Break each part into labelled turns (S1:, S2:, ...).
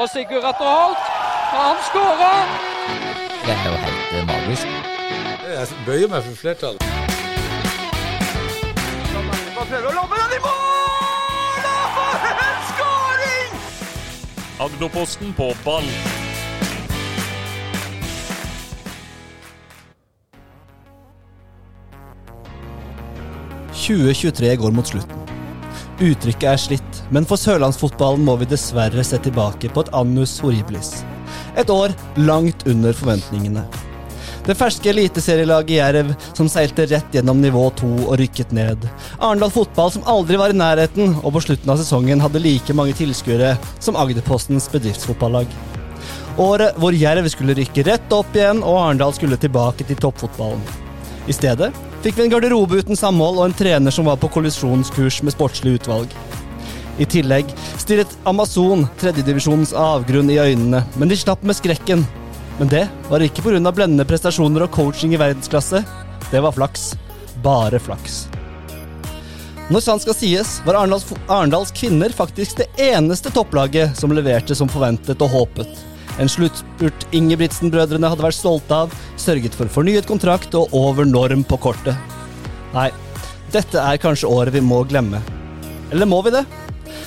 S1: Og Sigurd Atter Holt, han skårer!
S2: Det er jo helt eh, magisk.
S3: Jeg bøyer meg for flertallet.
S4: Agderposten på ball.
S5: går mot slutten. Uttrykket er slitt, men for sørlandsfotballen må vi dessverre se tilbake på et annus horribilis. Et år langt under forventningene. Det ferske eliteserielaget Jerv som seilte rett gjennom nivå 2 og rykket ned. Arendal fotball som aldri var i nærheten, og på slutten av sesongen hadde like mange tilskuere som Agderpostens bedriftsfotballag. Året hvor Jerv skulle rykke rett opp igjen, og Arendal skulle tilbake til toppfotballen. I stedet fikk vi en garderobe uten samhold og en trener som var på kollisjonskurs med sportslig utvalg. I tillegg stirret Amazon tredjedivisjonens avgrunn i øynene, men de slapp med skrekken. Men det var ikke pga. blendende prestasjoner og coaching i verdensklasse. Det var flaks. Bare flaks. Når sant skal sies, var Arendals, Arendals kvinner faktisk det eneste topplaget som leverte som forventet og håpet. En sluttspurt Ingebrigtsen-brødrene hadde vært stolte av, sørget for fornyet kontrakt og over norm på kortet. Nei, dette er kanskje året vi må glemme. Eller må vi det?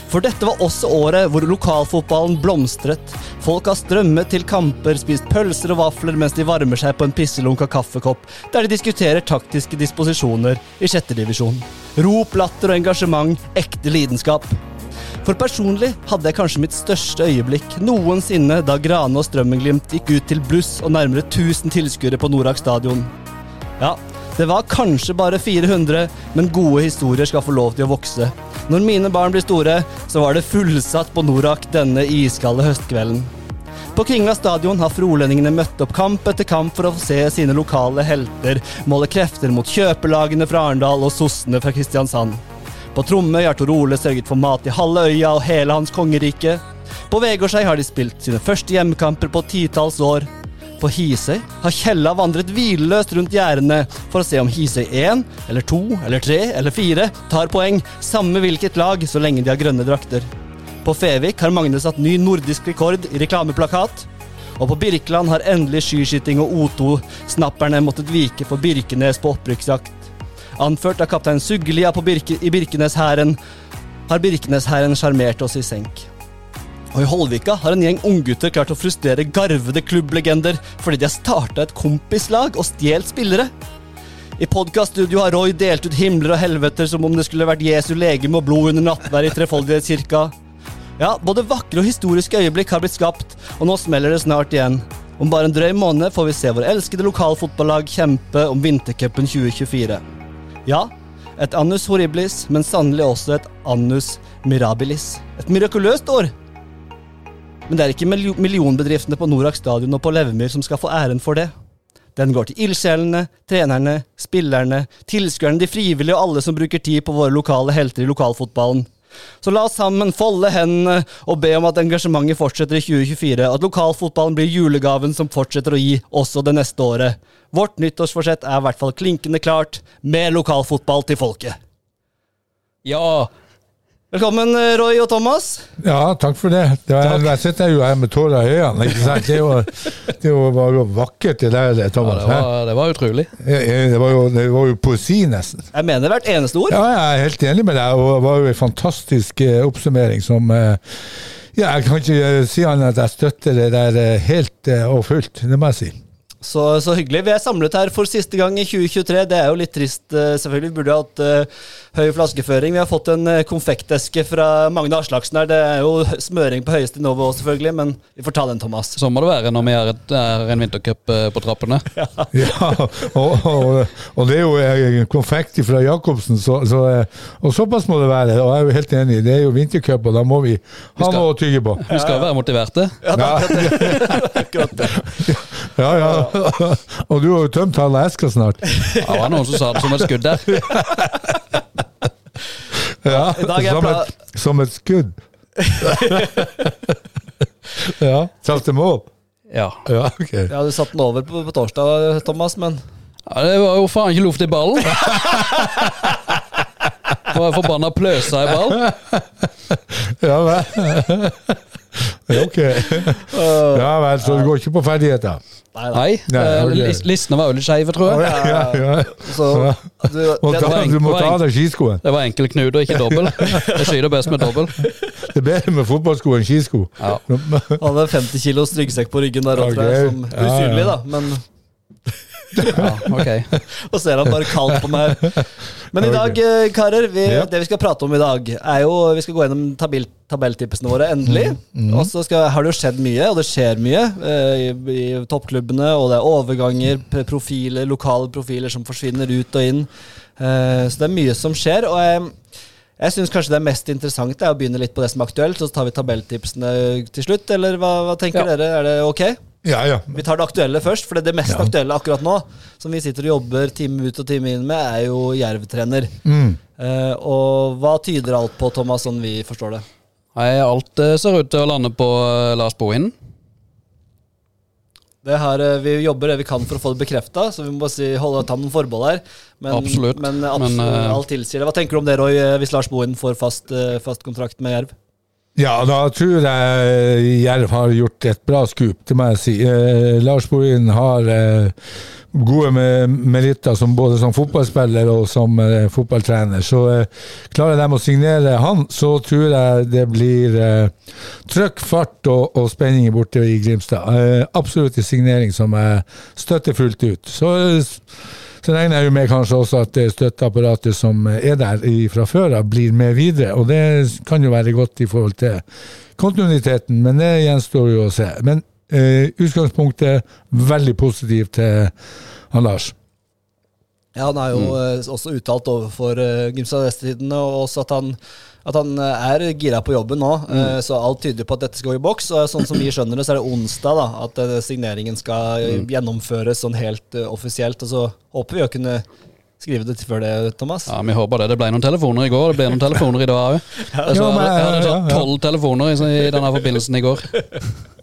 S5: For dette var også året hvor lokalfotballen blomstret. Folk har strømmet til kamper, spist pølser og vafler mens de varmer seg på en pisselunka kaffekopp, der de diskuterer taktiske disposisjoner i sjette divisjon. Rop, latter og engasjement, ekte lidenskap. For personlig hadde jeg kanskje mitt største øyeblikk noensinne da Grane og Strømmenglimt gikk ut til bluss og nærmere 1000 tilskuere på Norak stadion. Ja, det var kanskje bare 400, men gode historier skal få lov til å vokse. Når mine barn blir store, så var det fullsatt på Norak denne iskalde høstkvelden. På Kringla stadion har frolendingene møtt opp kamp etter kamp for å få se sine lokale helter måle krefter mot kjøpelagene fra Arendal og sossene fra Kristiansand. På Tromøy har Tor Ole sørget for mat til halve øya og hele hans kongerike. På Vegårshei har de spilt sine første hjemmekamper på titalls år. På Hisøy har Kjella vandret hvileløst rundt gjerdene for å se om Hisøy 1, eller 2, eller 3, eller 4 tar poeng, samme hvilket lag, så lenge de har grønne drakter. På Fevik har Magne satt ny nordisk rekord i reklameplakat. Og på Birkeland har endelig skiskyting og O2-snapperne måttet vike for Birkenes på opprykksjakt. Anført av kaptein Suglia på Birke, i Birkeneshæren har Birkeneshæren sjarmert oss i senk. Og i Holvika har en gjeng unggutter klart å frustrere garvede klubblegender fordi de har starta et kompislag og stjålet spillere. I podkaststudio har Roy delt ut himler og helveter som om det skulle vært Jesu legeme og blod under nattverdet i Trefoldighetskirka. Ja, både vakre og historiske øyeblikk har blitt skapt, og nå smeller det snart igjen. Om bare en drøy måned får vi se vår elskede lokalfotballag kjempe om vintercupen 2024. Ja, et annus horribilis, men sannelig også et annus mirabilis. Et mirakuløst år! Men det er ikke mil- millionbedriftene på Norak stadion og på Levemyr som skal få æren for det. Den går til ildsjelene, trenerne, spillerne, tilskuerne, de frivillige og alle som bruker tid på våre lokale helter i lokalfotballen. Så la oss sammen folde hendene og be om at engasjementet fortsetter i 2024, og at lokalfotballen blir julegaven som fortsetter å gi også det neste året. Vårt nyttårsforsett er i hvert fall klinkende klart, med lokalfotball til folket.
S2: Ja!
S5: Velkommen, eh, Roy og Thomas.
S3: Ja, takk for det. det var, jeg sitter jo her med tårer i øynene. Ikke sant? Det, er jo, det er jo- var jo vakkert, det der, Thomas.
S2: det var, det var utrolig.
S3: hæ? Eh, det, var jo, det var jo poesi, nesten.
S5: Jeg mener hvert eneste ord.
S3: Ja, jeg er helt enig med deg, og det var jo en fantastisk eh, oppsummering som eh, Ja, jeg kan ikke eh, si annet enn at jeg støtter det der eh, helt eh, og fullt, det må jeg si.
S5: Så, så hyggelig. Vi er samlet her for siste gang i 2023. Det er jo litt trist, eh, selvfølgelig. Vi burde hatt eh, høy flaskeføring. Vi har fått en eh, konfekteske fra Magne Aslaksen her. Det er jo hø- smøring på høyeste nivå, selvfølgelig, men vi får ta den, Thomas.
S2: Sånn må det være når vi har et, er en vintercup eh, på trappene.
S3: Ja, og, og, og det er jo eh, konfekt fra Jacobsen, så, så, eh, og såpass må det være. Og jeg er jo helt enig, det er jo vintercup, og da må vi ha
S2: skal-
S3: noe å tygge på.
S2: Vi skal jo være motiverte.
S3: Ja, ja. Og du har jo tømt halve eska snart.
S2: Det var noen som sa det som et skudd der.
S3: Ja,
S5: I dag er
S3: som,
S5: pla-
S3: et, som et skudd. Ja. Traff det mål?
S2: Ja.
S3: Ja, ok.
S5: Ja, du satte den over på, på torsdag, Thomas, men
S2: Ja, det var jo faen ikke luft i ballen. Det var forbanna pløsa i ballen.
S3: Ja vel. Ja, ok. Ja vel, så det går ikke på ferdigheter.
S5: Nei da.
S2: Nei,
S3: Nei,
S2: eh,
S3: ok.
S2: lis- listene var jo litt skeive, tror jeg.
S3: Ja, ja.
S5: Så du,
S3: Må
S5: det,
S3: ta, du må ta av deg skiskoen.
S2: Det var enkel knut og ikke dobbel. Jeg skyter best med dobbel.
S3: Det er bedre med fotballsko enn skisko.
S2: Ja.
S5: han hadde 50 kilos ryggsekk på ryggen der òg, tror jeg.
S3: Ok.
S5: Som,
S3: Ja, ja.
S5: usynlig, da. Men
S2: Ja, ok.
S5: Og ser han bare kaldt på meg. Men i dag, eh, karer, vi,
S3: Ja.
S5: det vi skal prate om i dag, er jo Vi skal gå gjennom tabell, tabelltippene våre, endelig. Og så skal- har det jo skjedd mye, og det skjer mye eh, i, i toppklubbene. Og det er overganger, p- profiler, lokale profiler som forsvinner ut og inn. Eh, så det er mye som skjer. Og jeg, jeg syns kanskje det er mest interessant er å begynne litt på det som er aktuelt, så tar vi tabelltipsene til slutt. Eller hva, hva tenker
S2: Ja.
S5: dere? Er det ok?
S3: Ja, ja.
S5: Vi tar det aktuelle først, for det, det mest aktuelle akkurat nå, som vi sitter og jobber time ut og time inn med, er jo Jerv-trener.
S2: Mm.
S5: Eh, og hva tyder alt på, Thomas, sånn vi forstår det?
S2: Nei, alt eh, ser ut til å lande på eh, Lars Bohin.
S5: det her, eh, vi jobber det vi kan for å få det bekrefta, så vi må bare si, holde, ta noen forbehold her. Men,
S2: Absolutt.
S5: men, eh,
S2: Men,
S5: absolutt,
S2: eh,
S5: alt tilsier det. Hva tenker du om det, Roy, eh, hvis Lars Bohin får fast, eh, fast kontrakt med Jerv?
S3: Ja, da tror jeg Jerv har gjort et bra skup, det må jeg si. Eh, Lars Bohin har eh, gode me- meritter som både som fotballspiller og som eh, fotballtrener. Så eh, klarer de å signere han, så tror jeg det blir eh, trøkk, fart og, og spenning borte i Grimstad. Eh, absolutt en signering som jeg støtter fullt ut. Så, eh, så regner jeg jo med kanskje også at det støtteapparatet som er der i- fra før av, blir med videre. Og det kan jo være godt i forhold til kontinuiteten, men det gjenstår jo å se. Men eh, utgangspunktet veldig positivt til han Lars.
S5: Ja, han har jo eh, også uttalt overfor uh, Grimstad Vestetidene og også at han, at han eh, er gira på jobben nå. eh, så alt tyder på at dette skal gå i boks. Og sånn som vi skjønner det, så er det onsdag da, at eh, signeringen skal eh, gjennomføres sånn helt eh, offisielt. Og så håper vi å kunne skrive det til før det, Thomas.
S2: Ja, Vi håper det. Det ble noen telefoner i går, det ble noen telefoner i dag òg. Jeg
S3: Ja, men-
S2: hadde
S3: ja,
S2: sånn
S3: ja.
S2: tolv telefoner i, i denne forbindelsen i går.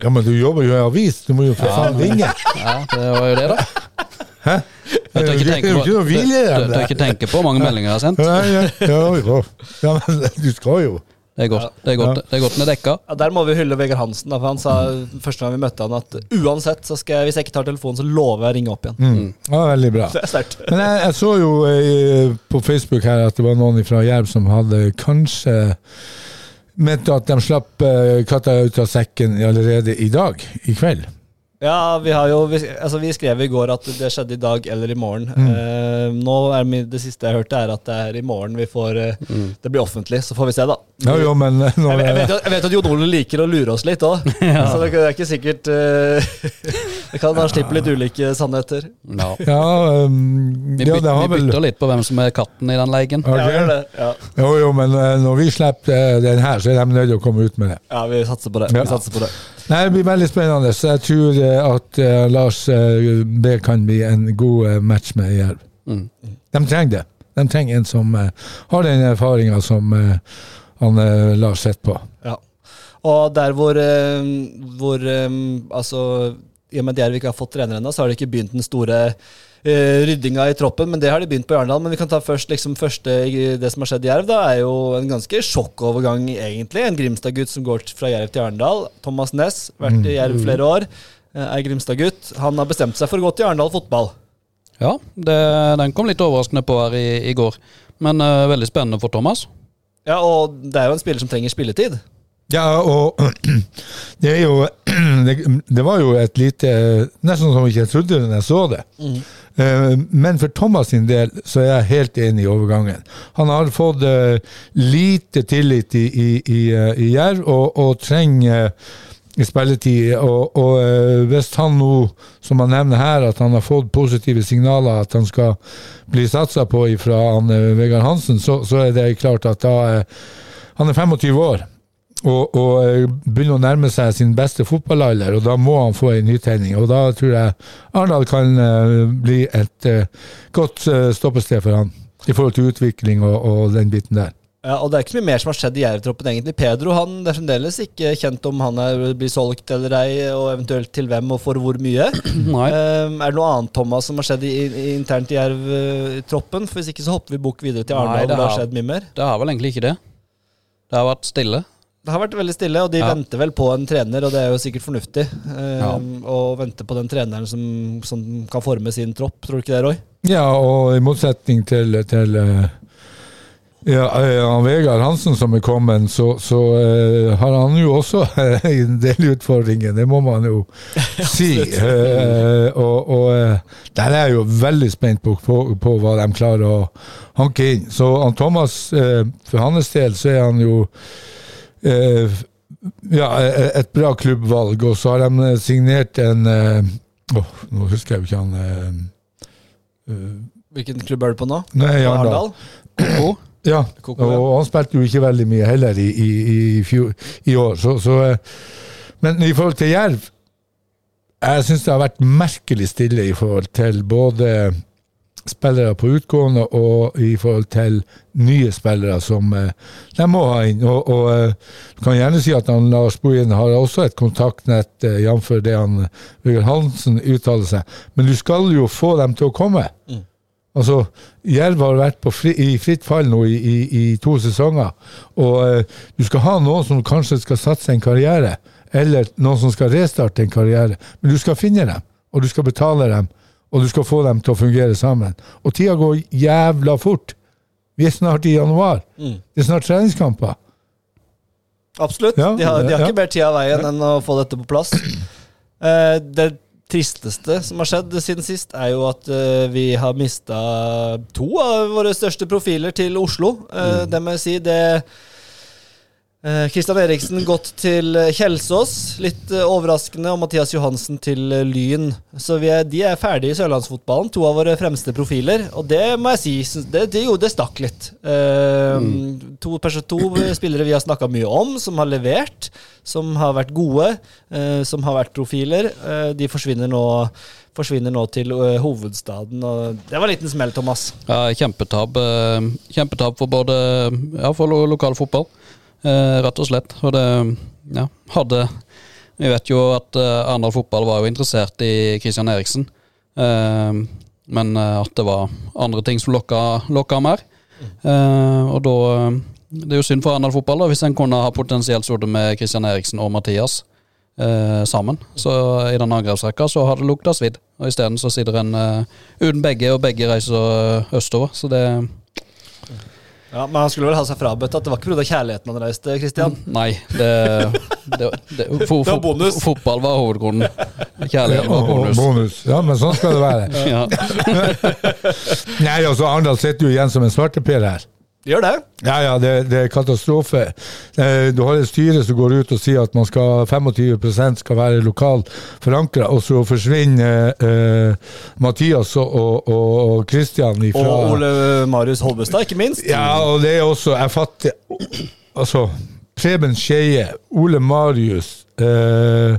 S3: Ja, men du jobber jo i avis, du må jo for faen ringe!
S2: Ja, det var jo det, da. Jeg tør
S3: Det
S2: ikke
S3: er
S2: tenke
S3: jo
S2: på,
S3: ikke noe hvile i
S2: tør-
S3: det.
S2: tør ikke tenke på hvor mange meldinger jeg har sendt.
S3: Ja, ja, ja, jo. ja, men du skal jo.
S2: Det er godt det er godt, det er godt den er dekka.
S5: Ja, Der må vi hylle Vegard Hansen, da, for han sa første gang vi møtte han at uansett, så skal jeg, hvis jeg ikke tar telefonen, så lover jeg å ringe opp igjen.
S3: Mm. Ja, veldig bra.
S5: Det er sterkt.
S3: Men jeg, jeg så jo eh, på Facebook her at det var noen fra Jerv som hadde kanskje mente at de slapp eh, katta ut av sekken allerede i dag, i kveld.
S5: Ja, vi, har jo, vi, altså, vi skrev i går at det skjedde i dag eller i morgen. Eh, nå er mi- Det siste jeg hørte, er at det er i morgen vi får eh, Det blir offentlig, så får vi se, da.
S3: Ja, jo, men eh, nå,
S5: Jeg, vet- jeg,
S3: eh,
S5: vet, jo- jeg vet at Jon Ole liker å lure oss litt òg, så det, det er ikke sikkert eh, Det kan han slipper litt ulike sannheter.
S2: Ja.
S3: ja, um,
S2: Vi,
S3: ja,
S2: byt,
S3: det har
S2: vi
S3: vel
S2: bytter litt på hvem som er katten i den leiken.
S3: Ok.
S5: Ja, gjør det. Ja.
S3: Jo, jo, men eh, når vi slipper eh, den her, så er de nødt til å komme ut med det.
S5: ja, vi satser på det.
S3: Ja.
S5: Vi satser på det.
S3: Nei, Det blir veldig spennende. Så jeg tror eh, at eh, Lars eh, B kan bli en god eh, match med Jerv.
S2: Mm.
S3: De trenger det. De trenger en som eh, har den erfaringa som eh, han eh, Lars sitter på.
S5: Ja. Og der hvor, eh, hvor eh, Altså, i og med at Jerv ikke har fått trener ennå, så har de ikke begynt den store eh, ryddinga i troppen, men det har de begynt på Arendal. Men vi kan ta først liksom første i det som har skjedd i Jerv, da, er jo en ganske sjokkovergang, egentlig. En Grimstad-gutt som går fra Jerv til Arendal. Thomas Næss, vært i Jerv flere år, eh, er Grimstad-gutt. Han har bestemt seg for å gå til Arendal fotball.
S2: Ja, det, den kom litt overraskende på her i, i går. Men eh, veldig spennende for Thomas.
S5: Ja, og det er jo en spiller som trenger spilletid.
S3: Ja, og det er jo det, det var jo et lite Nesten som jeg ikke trodde det når jeg så det. Eh, Men for Thomas sin del så er jeg helt enig i overgangen. Han har fått eh, lite tillit i, i, i, eh, i Jerv og, og trenger eh, spilletid. Og, og eh, hvis han nå, som han nevner her, at han har fått positive signaler at han skal bli satsa på fra Vegard Hansen, så, så er det klart at da eh, Han er 25 år og, og eh, begynner å nærme seg sin beste fotballalder, og da må han få en nytegning. Og da tror jeg Arendal kan eh, bli et eh, godt eh, stoppested for han, i forhold til utvikling og, og den biten der.
S5: Ja, og Det er ikke så mye mer som har skjedd i Jerv-troppen, egentlig. Pedro han det er fremdeles ikke kjent om han er, blir solgt eller ei, og eventuelt til hvem og for hvor mye.
S3: Mm.
S2: Nei.
S5: Ehm, er det noe annet Thomas, som har skjedd i, i, internt i Jerv-troppen? For Hvis ikke så hopper vi bukk videre til
S2: Nei,
S5: Arendal, og
S2: det
S5: det har
S2: har-
S5: skjedd mye mer.
S2: Det har vel egentlig ikke det. Det har vært stille.
S5: Det har vært veldig stille, og de
S2: Ja.
S5: venter vel på en trener, og det er jo sikkert fornuftig. eh,
S2: Ja.
S5: Å vente på den treneren som, som kan forme sin tropp, tror du ikke det, Roy?
S3: Ja, og i motsetning til, til eh, ja, eh, han Vegard Hansen som er kommet, så, så eh, har han jo også eh, en del utfordringer, det må man jo si. Eh, og og eh, der er jeg jo veldig spent på, på, på hva de klarer å hanke inn. Så han Thomas, eh, for hans del, så er han jo eh, ja, eh, et bra klubbvalg, og så har de signert en eh, åh, Nå husker jeg jo ikke han eh, eh,
S5: Hvilken klubb er du på nå?
S3: Nei, Arendal.
S5: Arendal?
S3: Ja, og
S5: Koko, ja.
S3: han spilte jo ikke veldig mye heller i, i, i, fjor, i år. Så, så, eh, men i forhold til Jerv Jeg syns det har vært merkelig stille i forhold til både spillere på utgående og i forhold til nye spillere som eh, de må ha inn. Og, og eh, du kan gjerne si at han Lars Bohin har også et kontaktnett, eh, jf. det han Røger Hansen uttaler seg, men du skal jo få dem til å komme. Altså, Jerv har vært på fri, i fritt fall nå i, i, i to sesonger. Og eh, du skal ha noen som kanskje skal satse en karriere, eller noen som skal restarte en karriere. Men du skal finne dem, og du skal betale dem, og du skal få dem til å fungere sammen. Og tida går jævla fort. Vi er snart i januar. Det er snart treningskamper.
S5: Absolutt.
S3: Ja,
S5: de har, de har
S3: ja.
S5: ikke mer tid av veien enn å få dette på plass. Eh, det tristeste som har skjedd siden sist, er jo at eh, vi har mista to av våre største profiler til Oslo. Eh,
S3: Mm.
S5: Det må jeg si. det... Eh, Kristian Eriksen gått til eh, Kjelsås, litt eh, overraskende, og Mathias Johansen til eh, Lyn. Så vi er, de er ferdige i sørlandsfotballen, to av våre fremste profiler. Og det må jeg si, syns- det, det, jo, det stakk litt. Eh, to, pers- to spillere vi har snakka mye om, som har levert, som har vært gode, eh, som har vært profiler. Eh, de forsvinner nå, forsvinner nå til eh, hovedstaden, og det var en liten smell, Thomas.
S2: Ja, kjempetab. eh, Kjempetab for både Ja, for lo lokal fotball, eh, rett og slett. Og det ja, hadde Vi vet jo at eh, Arendal fotball var jo interessert i Christian Eriksen. Eh, men eh, at det var andre ting som lokka, lokka mer. Eh, og da eh, Det er jo synd for Arendal fotball da, hvis en kunne ha potensielt sittet med Christian Eriksen og Mathias eh, sammen. Så i den angrepsrekka så har det lukta svidd. Og isteden så sitter en eh, uten begge, og begge reiser eh, østover. Så det
S5: Ja, Men han skulle vel ha seg frabedt at det var ikke pga. kjærligheten han reiste, Kristian.
S2: Nei, det, det, det, fo,
S5: Det var bonus.
S2: fo, Fotball var hovedgrunnen. Kjærlighet var
S3: Og- og
S2: bonus.
S3: bonus. Ja, men sånn skal det være.
S2: Ja.
S3: Nei, altså, Arendal sitter jo igjen som en svarteper her.
S5: Gjør det.
S3: Ja, ja, det, det er katastrofe. Eh, Du har et styre som går ut og sier at man skal 25 skal være lokalt forankra, og så forsvinner eh, Mathias og, og, og Christian ifra
S5: Og Ole Marius Holbestad, ikke minst.
S3: Ja, og det er også Jeg fatter Altså, Preben Skeie, Ole Marius eh,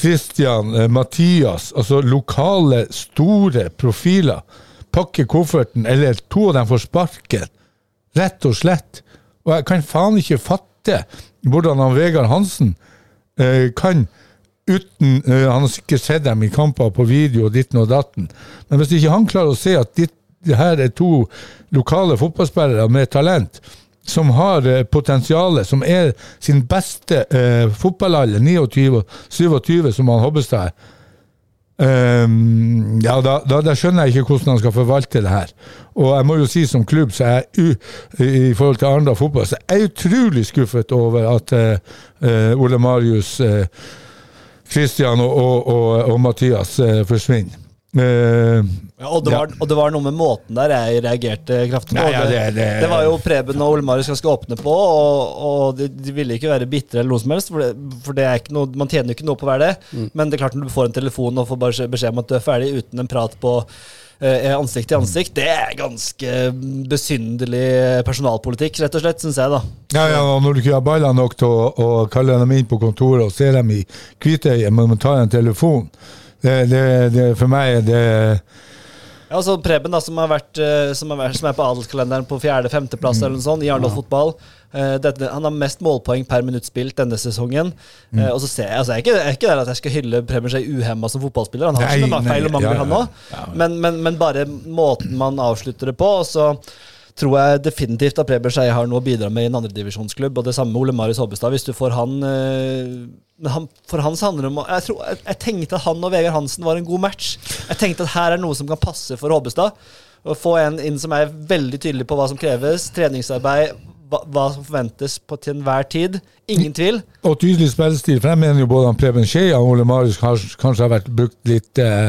S3: Christian, eh, Mathias, altså lokale, store profiler, pakker kofferten, eller to av dem får sparken. Rett og slett. Og jeg kan faen ikke fatte hvordan han Vegard Hansen eh, kan uten eh, Han har sikkert sett dem i kamper på video og ditten og datten, men hvis ikke han klarer å se at ditt, det her er to lokale fotballspillere med talent, som har eh, potensialet, som er sin beste eh, fotballalder, 29-27, som han Hobbestad er, Ehm, ja, da, da, da skjønner jeg ikke hvordan han skal forvalte det her. Og jeg må jo si som klubb, så er jeg u, i forhold til Arendal fotball, så er jeg utrolig skuffet over at eh, eh, Ole Marius, eh, Christian og, og, og, og Mathias eh, forsvinner. Eh,
S5: Ja, og, det
S3: Ja.
S5: var, og det var noe med måten der jeg reagerte kraftig på.
S3: Nei, ja, det-
S5: det,
S3: det-
S5: det var jo Preben og Ole Marius ganske åpne på, og, og de, de ville ikke være bitre eller noe som helst, for, det, for det er ikke noe, man tjener jo ikke noe på å være det.
S3: Mm.
S5: Men det er klart når du får en telefon og får bare beskjed- beskjed om at du er ferdig uten en prat på eh, ansikt til ansikt, det er ganske besynderlig personalpolitikk, rett og slett, syns jeg, da.
S3: ja, ja, og når du ikke har baller nok til å, å kalle dem inn på kontoret og se dem i hvitøyet, men må ta en telefon det, det, det, For meg er det
S5: Ja, altså Preben, da, som, har vært, eh, som, har vært, som er på adelskalenderen på fjerde-femteplass
S3: Mm.
S5: eller noe sånt i Arendal fotball. Eh, dette, han har mest målpoeng per minutt spilt denne sesongen.
S3: Mm.
S5: Eh, og så ser Jeg altså, jeg er ikke, jeg er ikke der at jeg skal hylle Preben seg uhemma som fotballspiller. Han har
S3: Nei,
S5: sine ma-
S3: nei,
S5: feil og
S3: ja,
S5: mangler,
S3: ja.
S5: han òg. Men, men, men bare måten man avslutter det på. Og så tror jeg definitivt at Preben Skeie har noe å bidra med i en andredivisjonsklubb. Og det samme med Ole Marius Hobbestad. Hvis du får han, eh, men han For hans handler det om å- jeg, tror, jeg, jeg tenkte at han og Vegard Hansen var en god match. Jeg tenkte at her er noe som kan passe for Hobbestad. Å få en inn som er veldig tydelig på hva som kreves. Treningsarbeid. Hva, hva som forventes på til enhver tid. Ingen tvil.
S3: Og tydelig spillestil, for jeg mener jo både han Preben Skeia og Ole Marius kanskje, kanskje har vært brukt litt eh,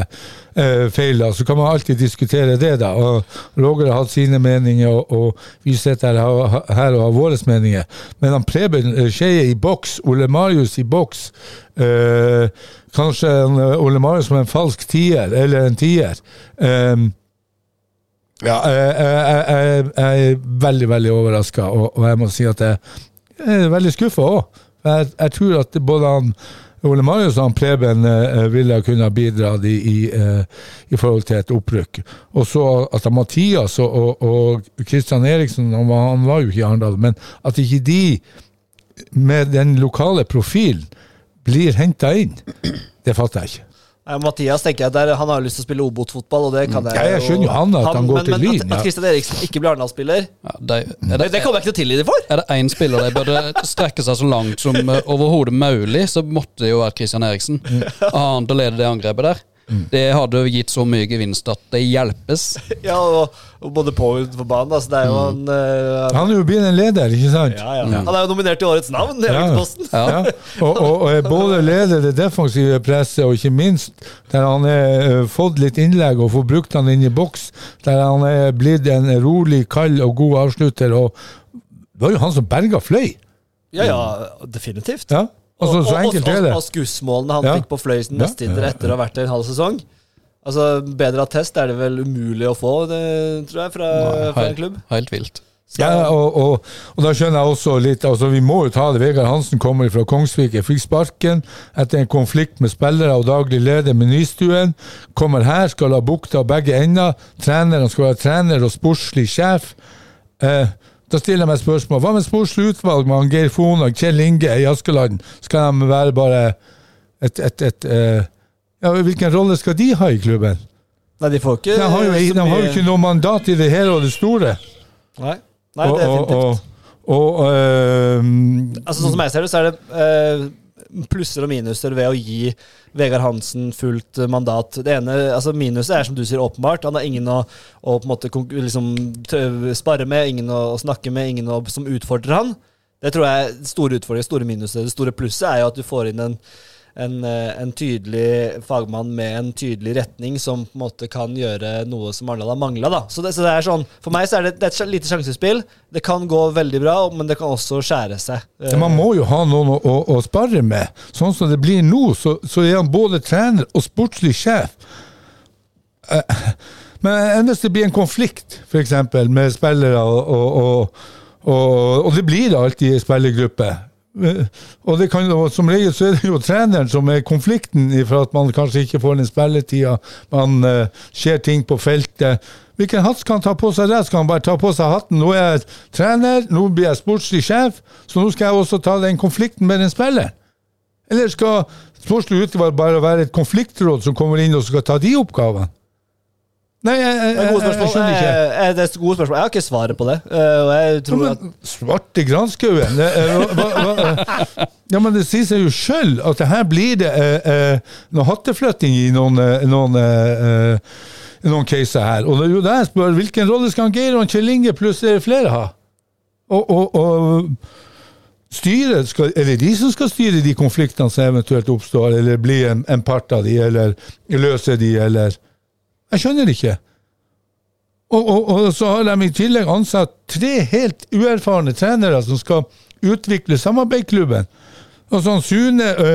S3: eh, feil, da. så kan man alltid diskutere det. da. Og Roger har hatt sine meninger, og, og vi sitter her, og har- her og har våre meninger. Men han Preben eh, Skeie i boks, Ole Marius i boks eh, Kanskje en, eh, Ole Marius som en falsk tier, eller en tier. Eh, ja, jeg, jeg, jeg, jeg er veldig, veldig overraska, og, og jeg må si at jeg, jeg er veldig skuffa òg. Jeg, jeg tror at både han Ole Marius og han Preben eh, ville ha kunnet bidra i, i, eh, i forhold til et opprykk. Og så at han Mathias og, og, og Christian Eriksen, han var, han var jo ikke i Arendal, men at ikke de, med den lokale profilen, blir henta inn, det fatter jeg ikke.
S5: Nei, Mathias tenker jeg der, han har jo lyst til å spille Obot-fotball, og det kan jeg
S3: Mm. Ja, jeg skjønner jo han at han går
S5: men,
S3: til
S5: men
S3: Lyn,
S5: At,
S3: ja.
S5: at Christian Eriksen ikke blir Arendal-spiller,
S2: Ja, de, er,
S5: det,
S2: det,
S5: det kommer jeg ikke til å tilgi dem for!
S2: er det én spiller de burde strekke seg så langt som eh, overhodet mulig, så måtte det jo være Christian Eriksen. Han til å lede det angrepet der.
S3: Mm.
S2: Det hadde jo gitt så mye gevinst at det hjelpes.
S5: Ja, og, og både på og utenfor banen. Altså, det er jo en, eh,
S3: Mm. Han er jo blitt en leder, ikke sant?
S5: ja, ja. Han er jo nominert til Årets navn i
S3: Ja.
S5: Aftenposten.
S2: Ja.
S3: Ja. Og, og, og er både leder det defensive presset, og ikke minst der han har fått litt innlegg og får brukt han inn i boks, der han er blitt en rolig, kald og god avslutter. Og det var jo han som berga Fløy!
S5: Ja, ja, definitivt.
S3: Ja. Altså,
S5: Og-
S3: så
S5: og-
S3: enkelt
S5: og,
S3: er det.
S5: Og, og skussmålene han
S3: Ja.
S5: fikk på Fløysen
S3: Ja.
S5: neste vinter etter å ha vært der en halv sesong. Altså, Bedre attest er det vel umulig å få, det, tror jeg, fra, fra Eh, en
S2: Helt,
S5: klubb.
S2: helt vilt.
S5: Så-
S3: Ja, og, og, og da skjønner jeg også litt altså Vi må jo ta det. Vegard Hansen kommer fra Kongsvik. Jeg fikk sparken etter en konflikt med spillere og daglig leder med Nystuen. Kommer her, skal ha bukta begge ender. Treneren skal være trener og sportslig sjef. Eh, da stiller jeg meg spørsmål. Hva med sportslig utvalg med han Geir Fon og Kjell Inge i Askeladden? Skal de være bare et, et, et eh, ja, Hvilken rolle skal de ha i klubben?
S5: Nei, de får ikke
S3: De har jo,
S5: Eh, så
S3: de har jo
S5: mye-
S3: ikke noe mandat i det hele og det store.
S5: Nei, Nei
S3: og,
S5: definitivt.
S3: og, og, og ehm,
S5: Altså Sånn som jeg ser det, så er det eh, plusser og minuser ved å gi Vegard Hansen fullt eh, mandat. Det ene, altså Minuset er som du sier, åpenbart. Han har ingen å, å på en måte konk- liksom, tø- spare med, ingen å, å snakke med, ingen å, som utfordrer han. Det tror jeg er store utfordringer, store minuset. Det store plusset er jo at du får inn en en, eh, en tydelig fagmann med en tydelig retning som på en måte kan gjøre noe som Arendal har mangla. Så, det- så det er sånn, for meg så er det, det er et sj- lite sjansespill. Det kan gå veldig bra, men det kan også skjære seg. Eh,
S3: man må jo ha noen å, å, å sparre med. Sånn som det blir nå, så, så er han både trener og sportslig sjef. Eh, Men enn hvis det blir en konflikt, f.eks. med spillere, og, og, og, og, og det blir det alltid i en spillergruppe. Eh, Og det kan, jo- som regel så er det jo treneren som er konflikten i for at man kanskje ikke får den spilletida, man eh, ser ting på feltet. Hvilken hatt skal han ta på seg der? Skal han bare ta på seg hatten? Nå er jeg trener, nå blir jeg sportslig sjef, så nå skal jeg også ta den konflikten med den spilleren. Eller skal sportslig utvalg bare være et konfliktråd som kommer inn og skal ta de oppgavene? Nei, jeg, jeg,
S5: det er
S3: jeg,
S5: gode
S3: jeg,
S5: spørsmål.
S3: skjønner ikke.
S5: Eh, eh, det er gode spørsmål. Jeg har ikke svaret på det. Eh, og jeg
S3: Ja,
S5: tror at
S3: men, svarte granskauen det, eh, hva- hva- hva- Ja, men det sier seg jo sjøl at det her blir det eh, eh, noe hatteflytting i noen, eh, noen eh, eh, noen caser her. Og det er jo der jeg spør hvilken rolle skal han Geir og han Kjell Inge pluss eh, flere ha? Og, og, og styret skal, Er det de som skal styre de konfliktene som eventuelt oppstår, eller bli en, en part av de, eller løse de, eller Jeg skjønner det ikke. Og, og, og så har de i tillegg ansatt tre helt uerfarne trenere som skal utvikle samarbeidsklubben. Og sånn Sune, ø,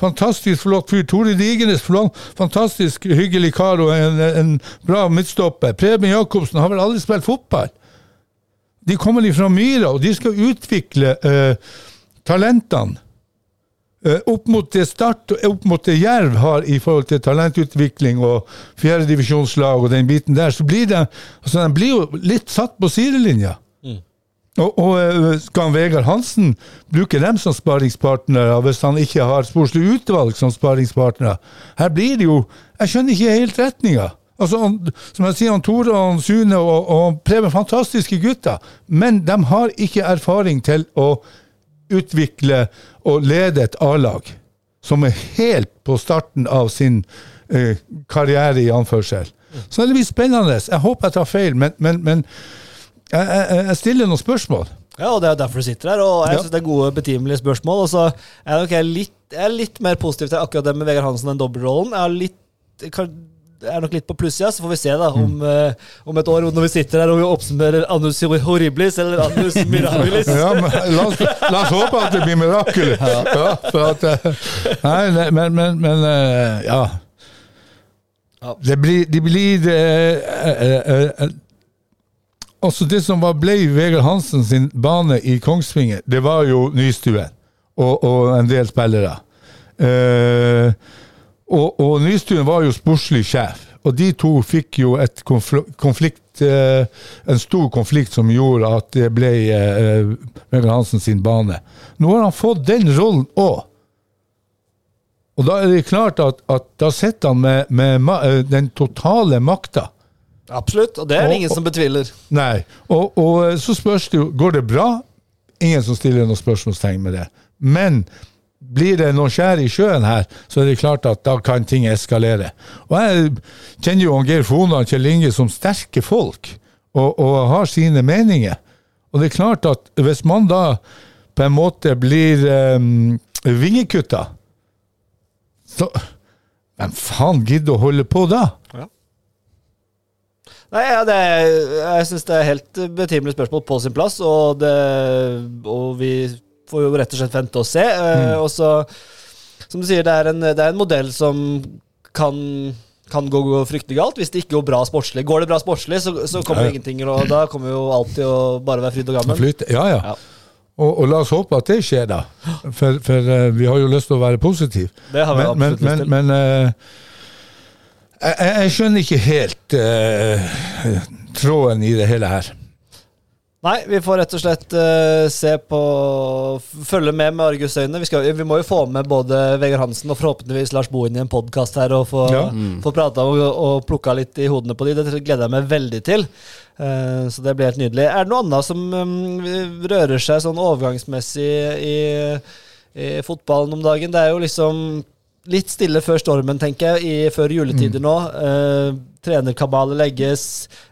S3: fantastisk flott fyr. Tore Digernes, flott- fantastisk hyggelig kar og en, en bra midtstopper. Preben Jacobsen har vel aldri spilt fotball? De kommer fra Myra, og de skal utvikle ø, talentene. Eh, opp mot det Start og opp mot det Jerv har i forhold til talentutvikling og fjerdedivisjonslag og den biten der, så blir det, altså de blir jo litt satt på sidelinja. Og, og eh, skal han Vegard Hansen bruke dem som sparingspartnere hvis han ikke har sportslig utvalg som sparingspartnere? Her blir det jo Jeg skjønner ikke helt retninga. Altså, han, som jeg sier, han Tore og han Sune og, og Preben, fantastiske gutter, men de har ikke erfaring til å utvikle og lede et A-lag som er helt på starten av sin eh, karriere, i anførsel. Så det blir spennende. Jeg håper jeg tar feil, men, men, men jeg, jeg, jeg stiller noen spørsmål.
S5: Ja, og det er jo derfor du sitter her. Og jeg
S3: Ja.
S5: synes det er gode, betimelige spørsmål. Og så er jeg nok jeg er litt, jeg er litt mer positiv til akkurat det med Vegard Hansen, den dobbeltrollen. Jeg er, litt, kan- jeg er nok litt på plussida, så får vi se da om,
S3: Mm.
S5: eh, om et år når vi sitter her og vi oppsummerer Anus Horriblis eller Anus Mirabilis.
S3: Ja, men la oss, la oss håpe at det blir mirakel. Ja, for at, eh, nei, nei, men, men, men eh, ja.
S5: Ja.
S3: Det blir, det blir eh, eh, eh, Altså det som var ble Vegard Hansen sin bane i Kongsvinger, det var jo Nystuen og, og en del spillere. Eh, og, og Nystuen var jo sportslig sjef, og de to fikk jo et konfl- konflikt eh, en stor konflikt som gjorde at det ble eh, Vegard Hansen sin bane. Nå har han fått den rollen òg. Og da er det klart at, at da sitter han med, med ma eh, den totale makta.
S5: Absolutt, og det er det ingen som betviler.
S3: Nei. Og, og så spørs det jo Går det bra? Ingen som stiller noe spørsmålstegn med det. Men blir det noe skjær i sjøen her, så er det klart at da kan ting eskalere. Og jeg kjenner jo han Geir Fona og Kjell Inge som sterke folk, og, og har sine meninger. Og det er klart at hvis man da på en måte blir um, vingekutta, så Hvem faen gidder å holde på da?
S5: Nei, ja, det er, Jeg syns det er helt betimelig spørsmål på sin plass, og, det, og vi får jo rett og slett vente og se. Eh,
S3: Mm.
S5: Og så, som du sier, det er en, det er en modell som kan kan gå, gå fryktelig galt hvis det ikke går bra sportslig. Går det bra sportslig, så, så kommer
S3: Ja, ja.
S5: ingenting, og da kommer jo alt til å bare være fryd og gammen.
S3: Flyt, ja, ja.
S5: Ja.
S3: Og, og la oss håpe at det skjer, da. For, for eh, vi har jo lyst til å være positive.
S5: Det har vi
S3: Men, men,
S5: absolutt lyst
S3: men,
S5: til.
S3: men eh, jeg, jeg- jeg skjønner ikke helt eh, tråden i det hele her.
S5: Nei, vi får rett og slett eh, se på f- Følge med med argusøyne. Vi, skal, vi må jo få med både Vegard Hansen og forhåpentligvis Lars Bohin i en podkast her og få,
S3: Ja.
S5: Mm. få prata og, og plukka litt i hodene på de. Det gleder jeg meg veldig til. Eh, så det blir helt nydelig. Er det noe annet som mm, rører seg sånn overgangsmessig i, i fotballen om dagen? Det er jo liksom litt stille før stormen, tenker jeg, i, før juletider nå. Eh, trenerkabalet legges.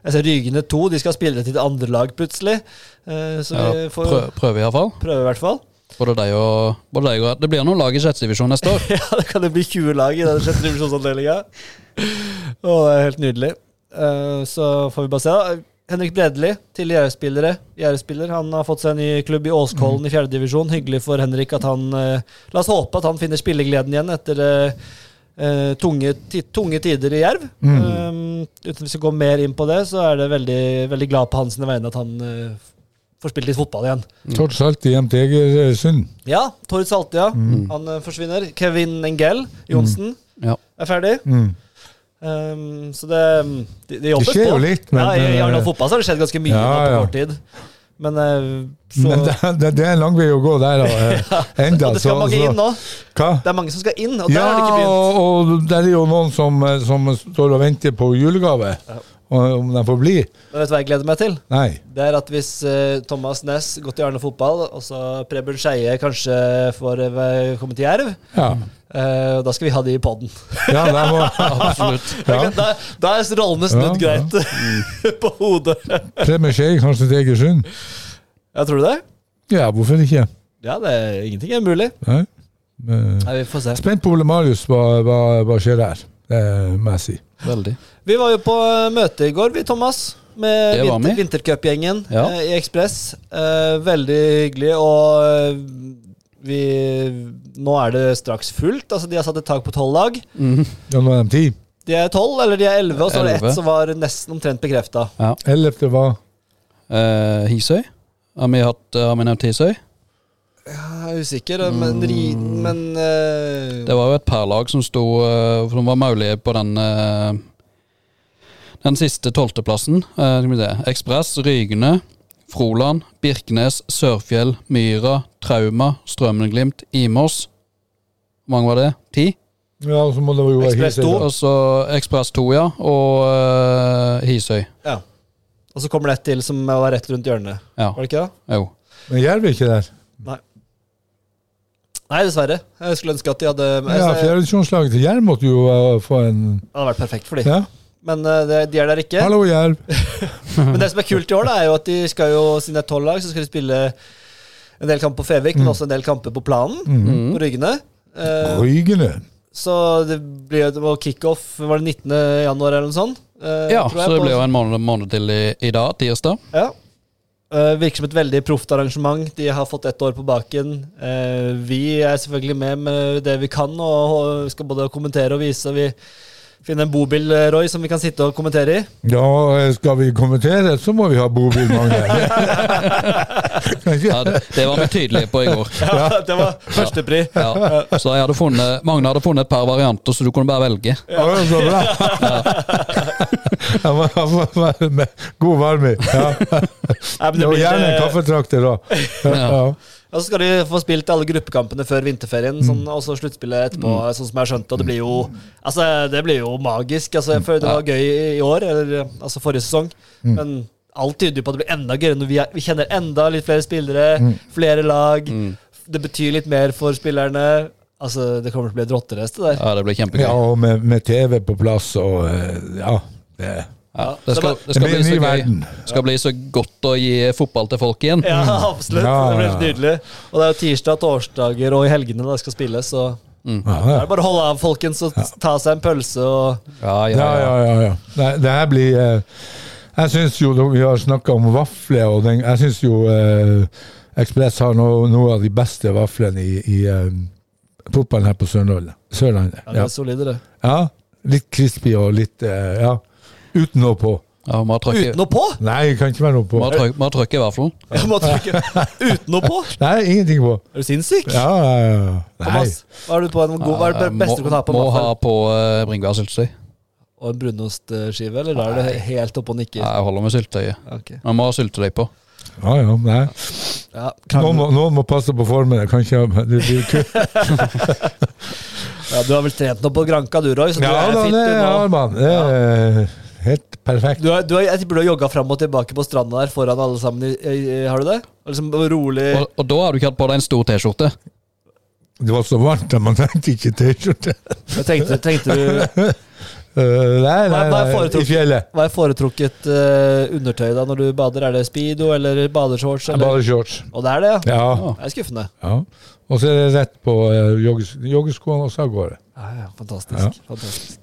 S5: Jeg ser Rygene to, de skal spille til et andre lag plutselig. Eh, så
S2: Ja,
S5: vi får
S2: prø- prøve, iallfall.
S5: prøve, i hvert fall.
S2: Både deg og, både deg og Det blir noen lag i sjette divisjon neste år.
S5: ja, det kan det bli 20 lag i den sjette divisjonsavdelinga. Å, det er helt nydelig. Eh, så får vi bare se, da. Henrik Bredli, tidligere Jerv-spillere. Jerv-spiller. Han har fått seg en ny klubb i Åskollen i fjerdedivisjon. Hyggelig for Henrik at han eh, La oss håpe at han finner spillegleden igjen etter eh, eh, tunge, ti, tunge tider i Jerv. Eh, uten at vi skal gå mer inn på det, så er det veldig, veldig glad på hans vegne at han eh, får spilt litt fotball igjen.
S3: Tross alt hjem til eh, Egersund.
S5: Ja, Tord Saltia.
S3: Mm.
S5: Han eh, forsvinner. Kevin Engel Johnsen
S2: Ja.
S5: er ferdig.
S3: Mm.
S5: Um, så det, det, det jobbes
S3: Det skjer
S5: på.
S3: jo litt, men- eh,
S5: ja, I i Arendal fotball så har det skjedd ganske mye
S3: Ja,
S5: nå på
S3: ja.
S5: kort tid. Men eh, så
S3: Men det, det, det er en lang vei å gå der og, eh, enda.
S5: Og det skal
S3: så-
S5: mange
S3: så-
S5: inn nå.
S3: Hva?
S5: Det er mange som skal inn, og der
S3: altså. Ja,
S5: har det ikke begynt.
S3: og, og der er jo noen som, eh, som står og venter på julegave. Og, om de får bli.
S5: Men vet du hva jeg gleder meg til?
S3: Nei.
S5: Det er at hvis eh, Thomas Næss går til Arendal fotball, og så Preben Skeie kanskje får eh, komme til Jerv,
S3: Ja,
S5: eh, da skal vi ha de i poden.
S3: ja det må
S2: Absolutt.
S3: ja.
S5: Da, da er rollene snudd
S3: Ja, Mm. ja.
S5: greit på hodet.
S3: Premier Skei, kanskje til Egersund.
S5: Ja, tror du det?
S3: Ja, hvorfor ikke?
S5: Ja, det er ingenting er mulig.
S3: Nei. Eh,
S5: Nei, vi får se.
S3: Spent på Ole Marius, hva, hva, hva skjer der? Det må jeg si.
S2: Veldig.
S5: Vi var jo på eh, møte i går, vi, Thomas. Med
S2: Det var
S5: vinter,
S2: vi.
S5: vintercupgjengen
S2: Ja.
S5: eh, i Ekspress. Eh, veldig hyggelig, og eh, vi Nå er det straks fullt. Altså, de har satt et tak på tolv lag.
S3: Ja, nå er de ti.
S5: De er tolv, eller de er elleve, og så var det
S2: Elleve.
S5: ett som var nesten omtrent bekrefta.
S3: Ellevte var
S2: Eh, Hisøy. Har vi, hatt, eh, har vi nevnt Hisøy?
S5: Jeg er usikker, eh, men, ri, men eh,
S2: Mm. Det var jo et par lag som sto eh, Som var mulige på den eh, Den siste tolvteplassen. Eh, skal vi se. Ekspress, Rygene, Froland, Birkenes, Sørfjell, Myra, Trauma, Strømmenglimt, Imos. Hvor mange var det? Ti?
S3: Ja, og så må det jo være
S5: Ekspress
S3: Hisøy,
S5: to.
S3: da.
S2: Og så Ekspress 2, ja. Og eh, Hisøy.
S5: Ja. Og så kommer det et til som var rett rundt hjørnet.
S2: Ja.
S5: Var det ikke det?
S2: Jo.
S3: Men Jerv er ikke der.
S2: Mm.
S5: Nei. Nei, dessverre. Jeg skulle ønske at de hadde
S3: Ja,
S5: Det
S3: Fjerdedivisjonslaget til Jerv måtte jo eh, få en
S5: hadde vært perfekt for de.
S3: Ja,
S5: Men eh, det- de er der ikke.
S3: hallo, Jerv.
S5: Men det som er kult i år, da, er jo at de skal jo, siden det er tolv lag, så skal de spille en del kamper på Fevik, men også en del kamper på planen, på Ryggene. Eh,
S3: Rygene.
S5: så det blir jo og kickoff var det 19. januar eller noe sånt. eh,
S2: Ja,
S5: tror jeg,
S2: så det
S5: på-
S2: blir jo en måned, måned til i, i dag, tirsdag.
S5: Ja. Eh, virker som et veldig proft arrangement. De har fått ett år på baken. Eh, vi er selvfølgelig med med det vi kan, og og skal både kommentere og vise. og Vi finner en bobil, eh, Roy, som vi kan sitte og kommentere i.
S3: Ja, eh, skal vi kommentere, så må vi ha bobil mange.
S2: Ja, det, det var vi tydelige på i går.
S5: Ja, Det var førstepri.
S2: Ja. Så jeg hadde funnet, Magne hadde funnet et par varianter, så du kunne bare velge.
S3: Ja, det var så bra. Ja, man må være med god varme. Ja.
S5: Nei, men det
S3: Og
S5: blir-
S3: gjerne en kaffetrakter òg. Ja.
S5: Ja, så skal de få spilt alle gruppekampene før vinterferien, sånn,
S3: Mm.
S5: og så sluttspillet etterpå, sånn som jeg har skjønt. Og det blir jo Altså, det blir jo magisk. Altså, jeg
S3: Mm.
S5: føler det var gøy i år, eller altså forrige sesong, men alt tyder jo på at det blir enda gøyere når vi, er, vi kjenner enda litt flere spillere,
S3: Mm.
S5: flere lag. Det betyr litt mer for spillerne. Altså, det kommer til å bli et rotterace, det der.
S2: Ja, det blir kjempegøy.
S3: ja, og med, med TV på plass og eh, Ja. Det,
S2: Ja, det skal, det
S3: Det
S2: skal,
S3: blir
S2: bli
S3: en
S2: så
S3: ny
S2: gøy.
S3: verden.
S2: skal bli så godt å gi fotball til folk igjen.
S5: Ja, absolutt.
S3: Ja,
S5: Det blir
S3: ja,
S5: helt nydelig. Og det er jo tirsdag, torsdager og i helgene det skal spilles, så det
S3: ja,
S5: er bare å holde av, folkens, og ta seg en pølse og
S2: Ja, ja,
S3: ja,
S2: ja.
S3: ja. ja, ja. Det, det her blir eh, Jeg syns jo da vi har snakka om vafler, og den, jeg syns jo eh, Ekspress har no, noe av de beste vaflene i, i eh, fotballen her på Sørlandet. Sørlandet.
S5: Ja, det
S3: Ja.
S5: er solide, det.
S3: ja. Litt crispy og litt eh, Ja. Uten noe på.
S2: ja vi har trykket-
S5: Uten noe på!
S3: Nei, det kan ikke være noe
S2: vi
S3: på.
S2: har trykket- vi har trykket i vaffelen.
S5: Jeg må trykke uten noe på.
S3: Nei, ingenting på.
S5: Er du sinnssyk?
S3: Ja, ja, ja. Nei.
S5: Thomas, hva er du på en god, hva er det
S2: Eh,
S5: beste du kan ha på en
S2: Må må ha
S5: vaffel?
S2: på uh, bringebærsyltetøy.
S5: Og en brunostskive, eller da er det helt oppe og nikker?
S2: Nei, Jeg holder med syltetøyet.
S5: Ok.
S2: Man må ha syltetøy på.
S3: Ja, ja, nei.
S5: Ja,
S3: Noen, må, noen må passe på formen. Jeg kan ikke det blir ku-
S5: ja, du har vel trent nå på Granka, du, Roy, så du
S3: Ja
S5: er
S3: da,
S5: fit
S3: det
S5: du
S3: har
S5: nå.
S3: man. Det er helt perfekt.
S5: Du har, du har, jeg tipper du har jogga fram og tilbake på stranda der foran alle sammen. I, i, i- har du det? Og liksom rolig
S2: Og, og da har du ikke hatt på deg en stor T-skjorte.
S3: Det var så varmt at man trengte ikke T-skjorte.
S5: Jeg tenkte, tenkte du
S3: Eh, Nei, nei,
S5: Hva- hva er
S3: nei, i
S5: foretrukket?
S3: fjellet.
S5: Hva er foretrukket eh, undertøy da når du bader? Er det speedo eller badeshorts?
S3: Jeg
S5: Eller?
S3: Bare shorts.
S5: Og det er det, ja?
S3: Ja.
S5: Det er skuffende.
S3: ja. Og så er det rett på eh, jogges- joggeskoene, og så av gårde.
S5: Ja, ja, fantastisk. fantastisk.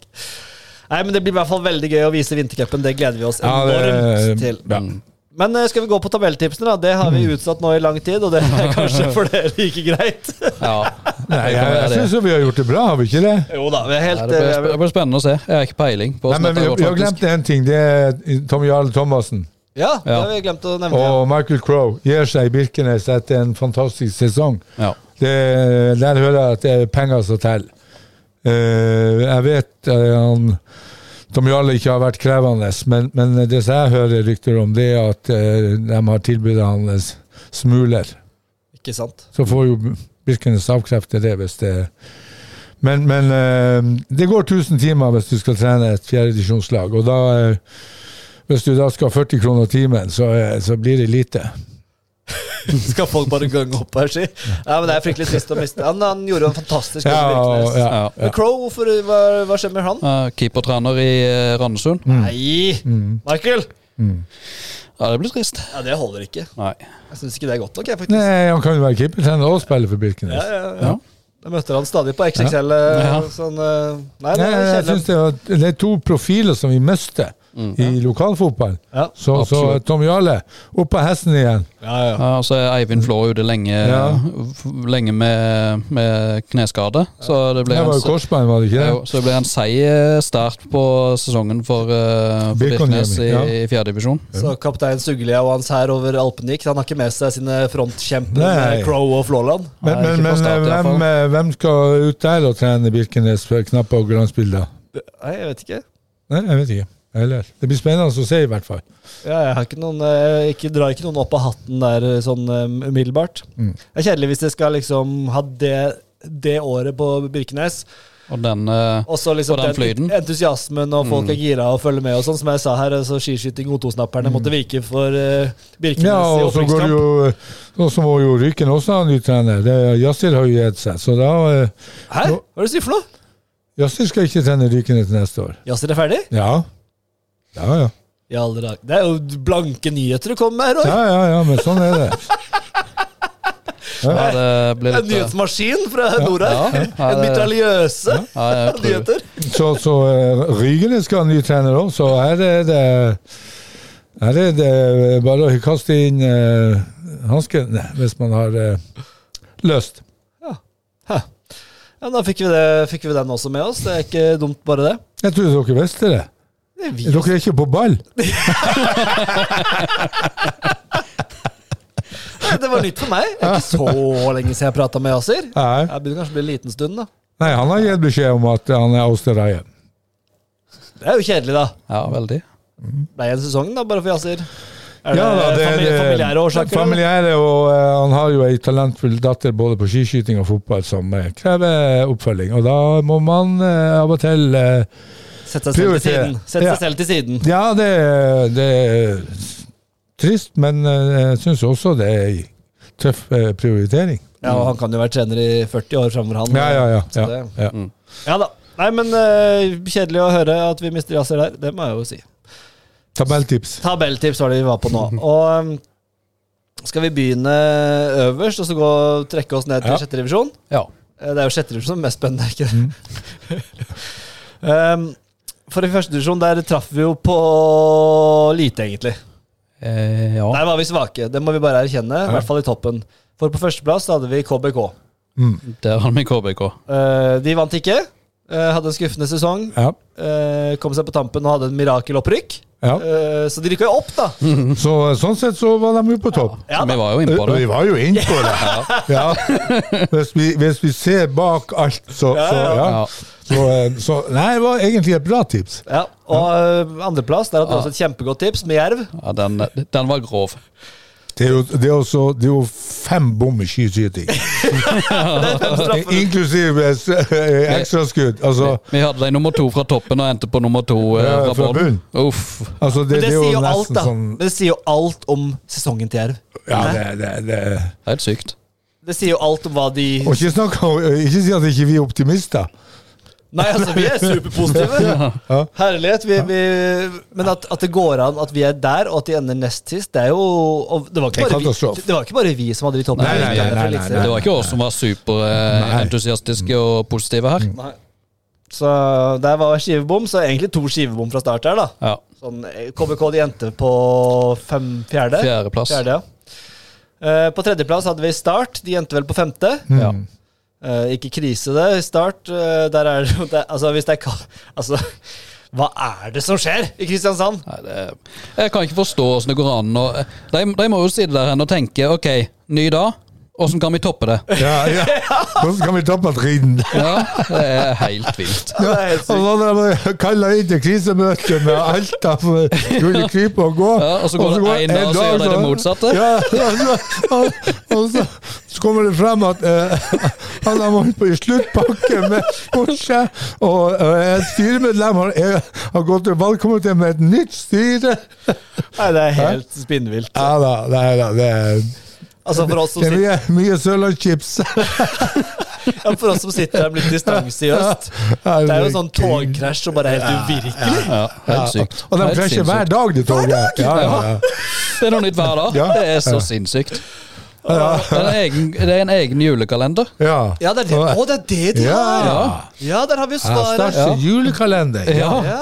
S5: Nei, men Det blir i hvert fall veldig gøy å vise vintercupen. Det gleder vi oss
S3: Ja, det-
S5: enormt til.
S3: ja.
S5: Men eh, skal vi gå på tabelltipsene? da? Det har vi
S3: Mm.
S5: utsatt nå i lang tid, og det er kanskje for dere like greit.
S2: Ja.
S3: Nei,
S2: Det kan
S3: jeg,
S2: være
S3: jeg
S2: det.
S3: syns jo vi har gjort det bra, har vi ikke det?
S5: Jo da, vi er
S2: Nei,
S5: helt
S2: det, blir,
S5: eh,
S2: sp- det blir spennende å se. Jeg har ikke peiling. på
S3: Nei,
S2: hvordan
S3: men vi,
S2: dette går,
S3: vi har
S2: faktisk.
S3: glemt én ting. Det er Tom Jarl Thomassen.
S5: Ja, det
S2: Ja.
S5: har vi glemt å nevne.
S3: Og Michael Crowe gir seg i Birkenes etter en fantastisk sesong.
S2: Ja.
S3: Det, der hører jeg at det er penger som teller. Eh, jeg vet eh, han Tom Jarle ikke har vært krevende, men, men det som jeg hører rykter om, det er at eh, de har tilbudet han eh, smuler.
S5: Ikke sant?
S3: Så får jo Birkenes avkrefte det hvis det Men, men eh, det går 1000 timer hvis du skal trene et fjerdedivisjonslag, og da eh, hvis du da skal ha 40 kroner timen, så, eh, så blir det lite.
S5: Skal folk bare gange opp her, si? Ja, men Det er fryktelig trist å miste. Han, han gjorde jo en fantastisk jobb.
S3: Ja,
S5: Virkelig.
S3: ja,
S2: Ja.
S3: ja.
S5: Men Crow, hvorfor, hva, hva skjer med han?
S2: Eh, Keepertrener i eh, Randesund.
S3: Mm.
S5: Nei! Michael!
S2: Ja, det blir trist.
S5: Ja, Det holder ikke.
S2: Nei.
S5: Jeg syns ikke det er godt nok. jeg faktisk.
S3: Nei, han kan jo være keepertrener og spille for Birkenes.
S5: Ja, ja, ja.
S2: Ja.
S5: Da møter han stadig på XXL.
S2: Ja.
S5: eh, Sånn, eh, nei, det
S3: Nei,
S5: er
S3: nei, jeg
S5: kjedelig.
S3: synes det, var- det er to profiler som vi mister i lokalfotball.
S5: Ja.
S3: Så, så
S2: Mm. Absolutt.
S3: Tom Jarle, opp av hesten igjen.
S5: Ja, ja.
S2: Ja, og så er Eivind Flå ute lenge,
S3: Ja.
S2: f- lenge med, med kneskade. Så det
S3: Det
S2: blir
S3: var jo
S2: en, se-
S3: korsbein, var det ikke
S2: jo,
S3: det?
S2: så det blir en seig eh, start på sesongen for, eh, for
S3: Birkenhjemmi,
S2: Birkenes i,
S3: ja.
S2: i fjerdedivisjon.
S5: Så kaptein Suglia og hans hær over Alpene gikk. Han har ikke med seg sine frontkjemper
S3: Nei.
S5: med Crow og Flåland.
S3: Men,
S2: Nei,
S3: men,
S2: ikke
S3: men
S2: på start i
S3: eh,
S2: hvert
S3: hvem, eh, hvem skal ut der og trene Birkenes for knapper og glansbilder?
S5: Nei, jeg vet ikke.
S3: Nei, jeg vet ikke. Eller. Det blir spennende å se, i hvert fall.
S5: Ja, jeg har ikke noen, eh, ikke, drar ikke
S3: Mm.
S5: noen opp av hatten der eh, sånn eh, umiddelbart. Det er kjedelig hvis jeg skal liksom ha det det året på Birkenes.
S2: Og den eh,
S5: Og så liksom
S2: Og den flyten.
S5: entusiasmen, og folk er gira og følger med. og sånn Som jeg sa her, altså skiskyting O2-snapperne måtte vike for eh, Birkenes
S3: Mm. Ja,
S5: i
S3: og så går det
S5: opprykkskamp.
S3: jo eh, Og så må jo Ryken også ha en ny trener. Det- Yassir har jo gitt seg, så da eh,
S5: Hæ? Hva er det du sier for noe?
S3: Yassir skal ikke trene Ryken til neste år.
S5: Jazzer er ferdig?
S3: Ja. Ja, ja.
S5: I alle dager. Det er jo blanke nyheter du kommer med her òg.
S3: Ja, ja, ja, men sånn er det.
S2: ja, det blir
S5: En
S2: litt eh,
S5: nyhetsmaskin fra nord
S2: ja,
S5: her.
S2: ja,
S5: En
S2: det-
S5: mitraljøse
S2: eh, ja, jeg tror det.
S5: nyheter.
S3: Så, så eh, Rygene skal ha ny trener òg, så her er det her er det bare å kaste inn uh, hansken hvis man har eh, lyst.
S5: Hæ. Ja, da fikk vi, det, fikk vi den også med oss. Det er ikke dumt, bare det.
S3: Jeg trodde dere visste det.
S5: det er vi.
S3: Dere er ikke på ball?
S5: Nei, Det var nytt for meg. Det er ikke så lenge siden jeg prata med Yasir.
S3: Nei.
S5: Jeg begynner kanskje å bli en liten stund, da.
S3: Nei, han har gitt beskjed om at han er Austerreie.
S5: Det er jo kjedelig, da.
S2: Ja, veldig.
S5: ble igjen sesongen, da, bare for Yasir. Er
S3: Ja, da,
S5: det,
S3: det,
S5: famili-
S3: det-
S5: familiære årsaker? eller?
S3: Familiære, og eh, han har jo ei talentfull datter både på skiskyting og fotball som eh, krever oppfølging. Og da må man eh, av og til eh,
S5: Sett seg selv til
S3: Prioritere.
S5: siden. Sett
S3: Ja.
S5: seg selv til siden.
S3: Ja, det, det er trist, men eh, jeg syns også det er ei tøff eh, prioritering.
S5: Ja, og han kan jo være trener i 40 år framover, han.
S3: Ja, ja, ja.
S5: Så
S3: ja,
S5: det-
S3: ja.
S5: Ja da. Nei, men eh, kjedelig å høre at vi mister Yasir der. Det må jeg jo si.
S3: Tabelltips.
S5: Tabelltips var det vi var på nå. Og um, skal vi begynne øverst, og så gå og trekke oss ned til
S3: Ja.
S5: sjette revisjon?
S2: Ja.
S5: Eh, Det er jo sjette divisjon som er mest spennende, ikke det? um, for i første divisjon der traff vi jo på lite, egentlig.
S2: Eh, ja.
S5: Der var vi svake, det må vi bare erkjenne. I hvert fall i toppen. For på førsteplass så hadde vi KBK.
S2: Der har vi KBK.
S5: Eh, de vant ikke. eh, hadde en skuffende sesong.
S3: Ja.
S5: eh, kom seg på tampen og hadde en mirakelopprykk.
S3: ja.
S5: Eh, så de rykka jo opp, da.
S3: Så sånn sett så var de jo på topp.
S5: Ja,
S2: Vi
S5: da.
S2: var jo inne på
S3: Vi
S2: det.
S3: var jo inne på det. Ja. Hvis, vi, hvis vi ser bak alt, så, så ja.
S2: Ja.
S3: Så, eh, så Nei, det var egentlig et bra tips.
S5: Ja, og eh, andreplass, der hadde du også et kjempegodt tips med Jerv.
S2: Ja, den, den var grov.
S3: Det er jo, det er også, det er jo fem bom i skiskyting, inklusiv eh, s- eh, ekstraskudd. Altså,
S2: Vi hadde deg nummer to fra toppen og endte på nummer to eh,
S3: Ja,
S2: fra
S3: fra
S2: bunnen. Uff.
S3: altså det,
S5: Men det,
S3: det er
S5: sier
S3: jo
S5: jo alt,
S3: nesten
S5: da.
S3: sånn
S5: Det sier jo alt om sesongen til Jerv.
S3: Ja, det, det, det.
S2: Helt sykt.
S5: Det sier jo alt om hva de
S3: Og ikke, snakk om, ikke si at ikke vi er optimister.
S5: Nei, altså, vi er superpositive. Herlighet. Vi, vi, men at, at det går an at vi er der, og at de ender nest sist, det er jo og det, var
S3: Det er
S5: ikke bare
S3: katastrofe.
S5: vi, det var ikke bare vi som hadde de toppene.
S3: Nei, nei, nei, nei, nei,
S2: Det var ikke oss som var
S3: Nei. Mm.
S2: superentusiastiske og positive her.
S5: Så der var skivebom, så egentlig to skivebom fra start her, da.
S2: Ja.
S5: Sånn, eh, KBK de endte på fem, fjerde.
S2: Fjerdeplass.
S5: Fjerde, ja. Eh, på tredjeplass hadde vi Start. De endte vel på femte.
S2: Ja.
S3: Mm.
S5: Eh, ikke krise, det. Start eh, Der er det jo det- Altså, hvis det er ka- Altså, hva er det som skjer i Kristiansand?
S2: Nei, det, jeg kan ikke forstå åssen det går an. å- de, de må jo sitte der hen og tenke OK, ny dag. Åssen kan vi toppe det?
S3: Ja, ja. Hvordan kan vi tappe driten?
S2: Ja, Det er helt vilt.
S5: Ja, det er helt sykt.
S3: Og så hadde de kalla inn til krisemøte med Alta for skulle krype og gå.
S2: Ja, og så går det en dag, så gjør de det motsatte.
S3: Ja, og så, og, og så, så kommer det frem at eh, han har vært på i sluttpakke med Porsche, og eh, et styremedlem har, er, har gått til valgkomiteen med et nytt styre.
S5: Nei, det er helt spinnvilt.
S3: Ja da, nei da, det er,
S5: Altså, for oss som
S3: det er
S5: sitter,
S3: mye, mye Sørlandschips.
S5: ja, for oss som sitter der med litt distanse i øst, det er jo sånn togkrasj som bare er helt uvirkelig.
S2: Ja, helt sykt.
S3: Og de
S2: Helt
S3: krasjer hver
S2: sinnssykt.
S3: dag, de toget. Ja, ja, ja.
S2: Det er noe nytt hver dag.
S3: Ja.
S2: Det er så sinnssykt. Det er en egen, det er en egen julekalender.
S3: ja.
S5: Ja, det er det. Å, det er det de har!
S3: Ja.
S5: Ja, der har vi jo
S3: Ja,
S5: svaret.
S3: Stas sin julekalender.
S2: Ja.
S5: Ja.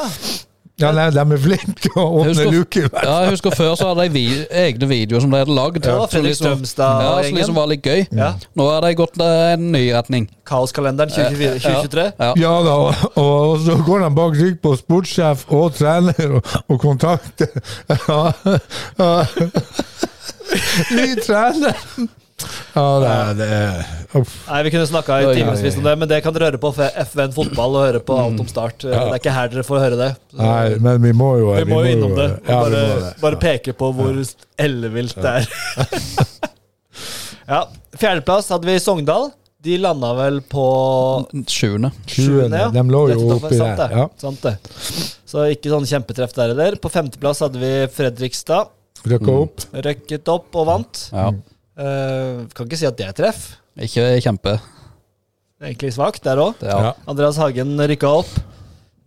S3: Ja, nei, de er flinke til å
S2: Jeg
S3: åpne
S2: husker,
S3: luker. vet du.
S2: ja, jeg husker Før så hadde de vi, egne videoer som de hadde lagd.
S5: Ja,
S2: som
S5: Fredrik
S2: liksom-
S5: Strømstad og
S2: ja, som
S5: gjengen.
S2: liksom var litt gøy.
S5: Ja.
S2: Nå har de gått eh, en ny retning.
S5: Kaoskalenderen 2024, 2023.
S2: Ja.
S3: Ja da, og, og så går de bak rygg på sportssjef og trener og, og kontakter ja, ja. Ny trener! Ja, det er- det er uff.
S5: Nei, Vi kunne snakka i
S2: Oi,
S5: timevis om det, men det kan dere høre på FVN fotball og høre på alt om Start. Det er ikke her dere får høre det. Så
S3: Mm. Nei, men vi må jo
S5: vi må jo innom det.
S3: Ja, vi
S5: bare,
S3: må det.
S5: bare peke på hvor ellevilt det er. ja. Fjerdeplass hadde vi Sogndal. De landa vel på
S2: Sjuende.
S5: sjuende,
S3: Sjuende, de lå jo
S5: Rett utenfor,
S3: oppi
S5: sant
S3: der,
S5: det,
S3: ja.
S5: Sant det. Så ikke sånn kjempetreff der heller. På femteplass hadde vi Fredrikstad.
S2: Mm.
S3: Rykka opp.
S5: Røkket opp og vant.
S2: Ja.
S5: Eh, kan ikke si at det er treff.
S2: Ikke kjempe.
S5: Det er Egentlig svakt der òg.
S2: Det er,
S3: Ja.
S5: Andreas Hagen rykka opp.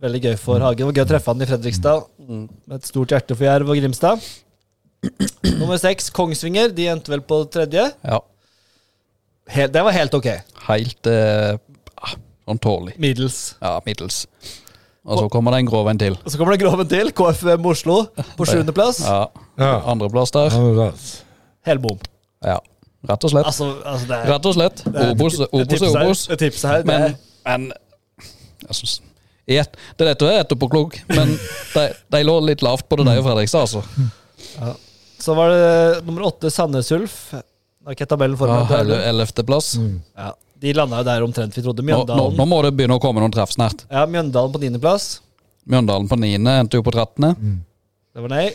S5: Veldig gøy for Hagen. Det var Gøy å treffe han i Fredrikstad.
S2: Mm.
S5: Med et stort hjerte for Jerv og Grimstad. Nummer seks, Kongsvinger. De endte vel på tredje.
S2: ja.
S5: Helt, det var helt ok.
S2: Helt eh, ah, sånn tålelig.
S5: Middels.
S2: Ja, middels. Og så kommer det en grov en til.
S5: Og så kommer det Groven til. KFUM Oslo på sjuendeplass.
S2: Ja.
S3: Ja.
S2: Andreplass der.
S3: Andreplass.
S5: Helbom.
S2: Ja. Rett og slett.
S5: Altså, altså det er
S2: Rett og slett.
S5: det er-
S2: Obos Obos
S5: tipset
S2: er
S5: her-
S2: Obos.
S5: Det tipset her, det
S2: Men,
S5: er-
S2: men jeg synes, i et, Det er dette jeg er etterpåklok, men de, de lå litt lavt på det der i Fredrikstad, altså.
S5: Så var det eh, nummer åtte, Sandnes Ulf. Har ikke tabellen for meg.
S2: Ja,
S5: det er-
S2: Ellevteplass.
S3: Mm.
S5: Ja, de landa jo der omtrent vi trodde.
S2: Nå,
S5: Mjøndalen,
S2: nå, nå må det begynne å komme noen treff snart.
S5: Ja, Mjøndalen på niendeplass.
S2: Mjøndalen på niende endte jo på trettende.
S3: Mm.
S5: Det var nei.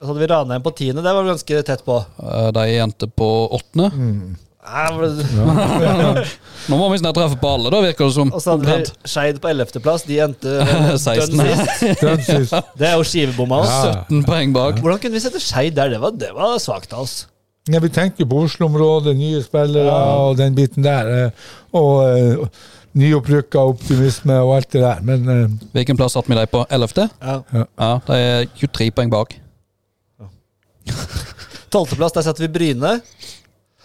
S5: Så hadde vi Ranheim på tiende. Det var vi ganske tett på.
S2: Eh, De endte på åttende.
S3: Mm.
S5: Nei, men-
S2: Nå må vi snart treffe på alle, da, virker det som.
S5: Og så hadde
S2: Omtrent.
S5: vi Skeid på 11.-plass. De endte vel dønn
S2: 16.
S5: sist.
S3: Den sist.
S5: Det er jo skivebomma oss.
S2: 17 poeng bak.
S5: Hvordan kunne vi sette Skeid der? Det var, det var svakt av oss.
S3: Ja, vi tenker på Oslo-området, nye spillere og den biten der. eh, Og eh, nyopprykka optimisme og alt det der. Men eh,
S2: Hvilken plass satte vi dem på? Ellevte?
S5: Ja.
S2: Ja, de er 23 poeng bak.
S5: 12.-plass, der setter vi Bryne.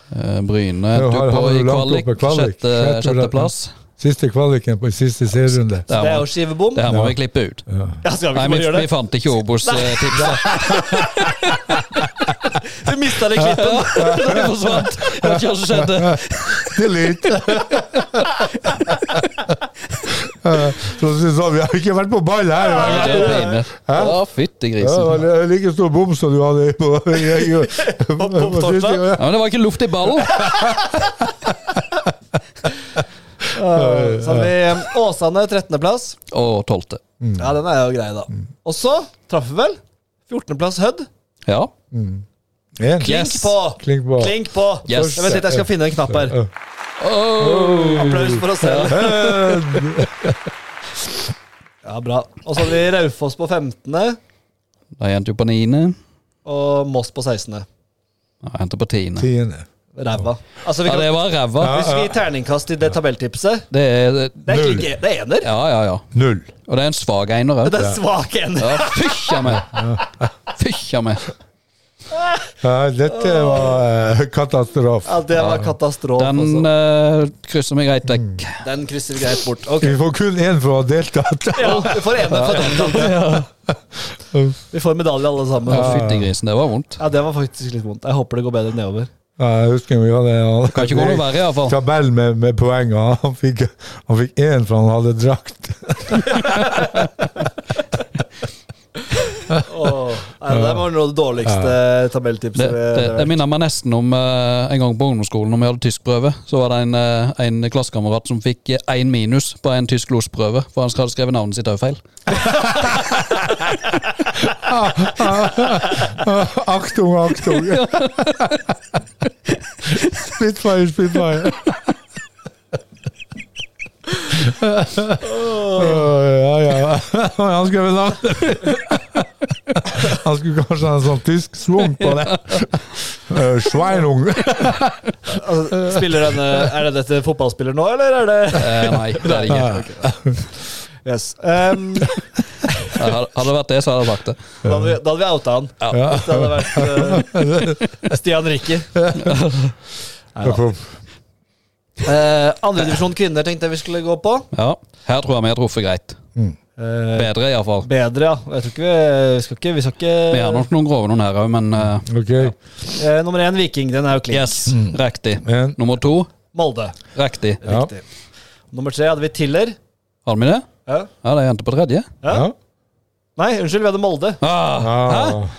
S2: Eh, Bryne
S3: Ja,
S2: endte
S3: her
S2: jo på
S3: har du
S2: i
S3: langt
S2: kvalik.
S3: oppe, kvalik.
S2: Sjette,
S3: Sjette-
S2: sjetteplass.
S3: siste kvaliken på siste serierunde.
S2: Der
S5: Det er jo
S2: må,
S5: skivebom.
S2: det her må vi klippe ut.
S5: Ja, skal vi ikke
S2: Nei, vi,
S5: bare gjøre det?
S2: vi fant ikke eh, Obos-tipset.
S5: Du mista det i klippen.
S2: Det forsvant. Jeg vet ikke hva som skjedde.
S3: Delete! Eh, Så, så, så, vi har ikke vært på ball her.
S2: Ja,
S3: men-
S2: det er pinlig.
S3: Hæ?
S2: Å, fytti
S3: Ja, det
S2: grisen.
S3: var li- like stor bom som du hadde på, på,
S5: på
S3: på, på siste,
S5: torsdag?
S3: ja.
S2: Ja, men det var ikke luft i ballen.
S5: Så hadde vi eh, Åsane 13.-plass.
S2: Og tolvte.
S5: Ja, den er jo grei, da. Og så traff vi vel 14.-plass Hødd.
S2: Ja.
S3: En.
S5: Klink
S2: Yes.
S5: på!
S3: Klink på.
S5: Klink på!
S2: Yes.
S5: Jeg vet ikke, jeg skal finne en knapp her.
S2: Åh.
S5: Applaus for oss selv. Ja, bra. Og så hadde vi Raufoss på 15.
S2: De endte jo på niende.
S5: og Moss på 16.
S2: Ja, endte på tiende.
S3: Tiende.
S5: Ræva. Altså, vi
S2: Ja,
S5: kan,
S2: det var ræva.
S5: Hvis vi gir terningkast i det tabelltipset
S2: Det er
S5: Det er
S3: Null.
S5: ikke det er ener.
S2: Ja, ja, ja.
S3: Null.
S2: Og det er en svak einer òg.
S5: Det er svak ener.
S2: Ja, fysja meg! Fysja meg.
S3: Ja, dette var eh, katastrofe.
S5: Ja, det var katastrofe.
S2: Den
S5: altså.
S2: eh, krysser vi greit vekk.
S5: den krysser vi greit bort. Ok.
S3: Vi får kun én for å ha deltatt.
S5: Ja, vi får ener for den. Vi får medalje, alle
S2: Ja,
S5: sammen.
S2: Fytti grisen, det var vondt.
S5: Ja, Det var faktisk litt vondt. Jeg håper det går bedre nedover.
S3: Ja, jeg husker vi hadde han-
S2: Kan ikke gå noe verre, iallfall.
S3: tabell med, med poeng, og han fikk han fikk én for han hadde drakt.
S5: Åh, nei, det var noe av det dårligste tabelltipset.
S2: Det, det,
S5: vi-
S2: det minner meg nesten om eh, en gang på ungdomsskolen når vi hadde tyskprøve. Så var det en, uh, en klassekamerat som fikk eh, én minus på en tysk losprøve, for han hadde skrevet navnet sitt òg feil.
S3: Aktung, aktung! Spitfire, spitfire. ja, ja. Han skulle vel ha Han skulle kanskje ha en sånn tysk swung på det. Eh, Schweinung.
S5: Altså, spiller denne, er det dette fotballspiller nå, eller er det
S2: Eh, nei, det er det ikke.
S5: Yes. Um,
S2: Ja, hadde- hadde det vært det, så hadde jeg sagt det.
S5: da, hadde vi, da hadde vi outa han.
S2: Ja.
S5: Det hadde vært eh, Stian Rikke. Uh, Andredivisjon kvinner tenkte jeg vi skulle gå på.
S2: Ja, Her tror jeg vi har truffet greit.
S5: Eh,
S2: Bedre, iallfall.
S5: bedre, ja. Jeg tror ikke vi, vi skal ikke, vi skal
S2: Vi har
S5: ikke
S2: nok noen grove noen her òg, men eh,
S3: Ok.
S5: Eh, Nummer én Viking, den er jo klink.
S2: yes, riktig.
S3: En.
S2: Nummer to,
S5: Molde.
S2: riktig.
S3: Ja.
S5: Riktig. Nummer tre hadde vi Tiller.
S2: Har vi det?
S5: Ja.
S2: Ja, de endte på tredje.
S3: Ja.
S5: Nei, unnskyld, vi hadde Molde.
S2: Ah,
S3: Ah.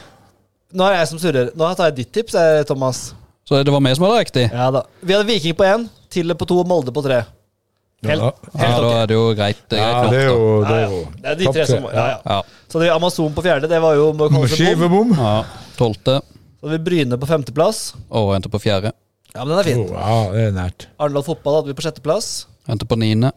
S5: Nå er jeg som surrer. Nå tar jeg ditt tips, eh, Thomas.
S2: så det var vi som hadde riktig?
S5: Ja da. Vi hadde Viking på én, Tiller på to og Molde på tre.
S3: Ja.
S5: Helt,
S2: Ja,
S5: helt
S2: da
S5: ok.
S2: er det jo greit. Det er greit
S3: Ja,
S2: nok,
S3: det er
S2: da.
S3: jo Det
S5: Ja,
S3: er
S5: ja.
S3: jo
S5: Det er de tre som ja, ja.
S2: Ja.
S5: Så hadde vi Amazon på fjerde. Det var jo må kalles en bom.
S3: Skivebom.
S2: ja. Tolvte
S5: Så hadde vi Bryne på femteplass.
S2: og endte på fjerde.
S5: Ja, men den er fin.
S3: Wow, Oh, det er nært.
S5: Arendal fotball hadde vi på sjetteplass.
S2: Endte på niende,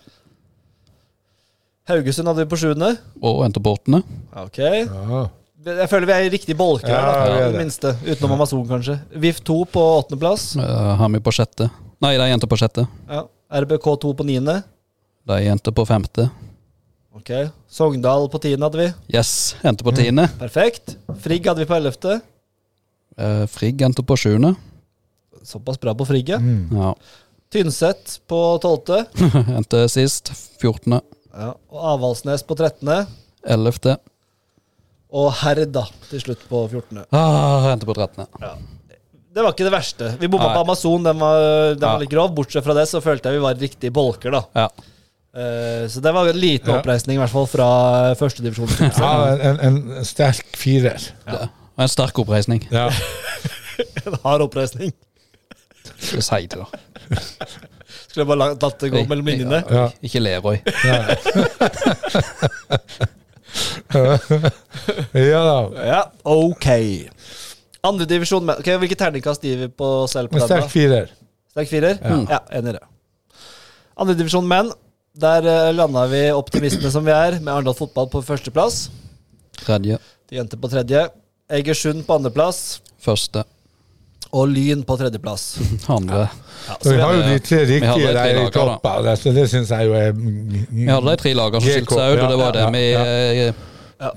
S5: Haugesund hadde vi på sjuende.
S2: og endte på åttende.
S5: Ok.
S3: Ja.
S5: Jeg føler vi er i riktig bolke her,
S3: Ja,
S5: da,
S3: vi er
S5: i det
S3: det.
S5: minste. Utenom Amazon, kanskje. VIF 2 på åttendeplass.
S2: Eh, Har vi på sjette. Nei, de endte på sjette.
S5: Ja. RBK 2 på niende.
S2: De endte på femte.
S5: Ok. Sogndal på tiende hadde vi.
S2: Yes, endte på tiende.
S5: Perfekt. Frigg hadde vi på ellevte.
S2: Eh, Frigg endte på sjuende.
S5: Såpass bra på Frigg, ja.
S3: Mm.
S2: Ja.
S5: Tynset på tolvte.
S2: Endte sist. Fjortende.
S5: Ja. Og Avaldsnes på trettende.
S2: Ellevte.
S5: Og Herda til slutt på fjortende.
S2: Ah, endte på trettende.
S5: Det var ikke det verste. Vi bomma
S2: Nei.
S5: på Amazon, den var, den var
S2: Ja.
S5: litt grov. Bortsett fra det så følte jeg vi var i riktige bolker, da.
S2: Ja.
S5: Eh, så det var en liten
S3: Ja.
S5: oppreisning, i hvert fall fra førstedivisjon.
S3: ja en, en, en sterk firer.
S2: Det var en sterk oppreisning.
S3: Ja.
S5: en hard oppreisning.
S2: Skal jeg si det, da.
S5: Skulle jeg bare la- latt det gå
S2: Nei,
S5: mellom
S2: nei,
S5: linjene.
S3: Ja.
S2: Ikke Lerøy.
S3: ja da.
S5: Ja, ok. Andredivisjon men- Ok, Hvilket terningkast gir vi på selv på
S3: En
S5: den? da?
S3: sterk firer.
S5: Sterk firer? Ja, enig i det. Andredivisjon menn. Der eh, landa vi optimistene som vi er, med Arendal fotball på førsteplass.
S2: Tredje.
S5: De endte på tredje. Egersund på andreplass.
S2: Første.
S5: Og Lyn på tredjeplass.
S2: Andre.
S5: Ja,
S3: Så vi har jo de tre
S2: hadde
S3: riktige
S2: tre
S3: der
S2: lager,
S3: i toppen, der, så det syns jeg jo er
S2: Vi hadde de tre lagene som skilte seg ut, og det var det vi eh,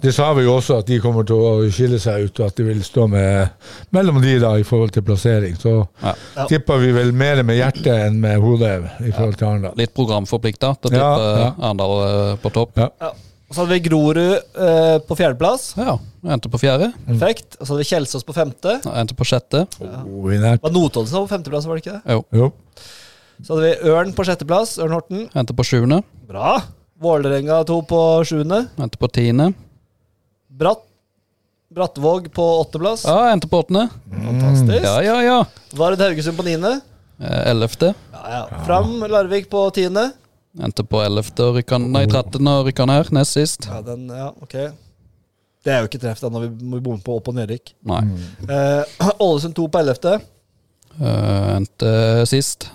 S3: Det sa vi jo også, at de kommer til å skille seg ut, og at de vil stå med, mellom de da i forhold til plassering. Så
S2: Ja.
S5: Ja.
S3: tipper vi vel mer med hjertet enn med hodet i forhold til Arendal.
S2: Litt programforplikta til å tippe
S3: Ja, ja.
S2: eh, Arendal eh, på topp.
S3: Ja.
S5: Ja. Og så hadde vi Grorud eh, på fjerdeplass.
S2: Ja. Endte på fjerde.
S5: Perfekt. Og så hadde vi Kjelsås på femte.
S2: Endte på sjette.
S3: Oh, vi er nært.
S5: Var Notodden som var på femteplass, var det ikke det?
S2: Jo.
S3: Jo.
S5: Så hadde vi Ørn på sjetteplass. Ørn Horten.
S2: Endte på sjuende.
S5: Bra. Vålerenga to på sjuende.
S2: Endte på tiende.
S5: Bratt. Brattvåg på åtteplass.
S2: Ja, endte på åttende.
S5: Fantastisk.
S2: Ja, ja, ja.
S5: Vard Haugesund på niende.
S2: Eh, Ellevte.
S5: Ja, ja. Fram Larvik på tiende.
S2: Endte på ellevte og rykka Nei, trettende og rykka ned. Nest sist.
S5: Ja, den, ja, ok. Det er jo ikke treff da, når vi må bomme på opp- og nedrykk.
S2: Nei.
S5: Eh, Ålesund 2 på 11.
S2: Eh, endte sist.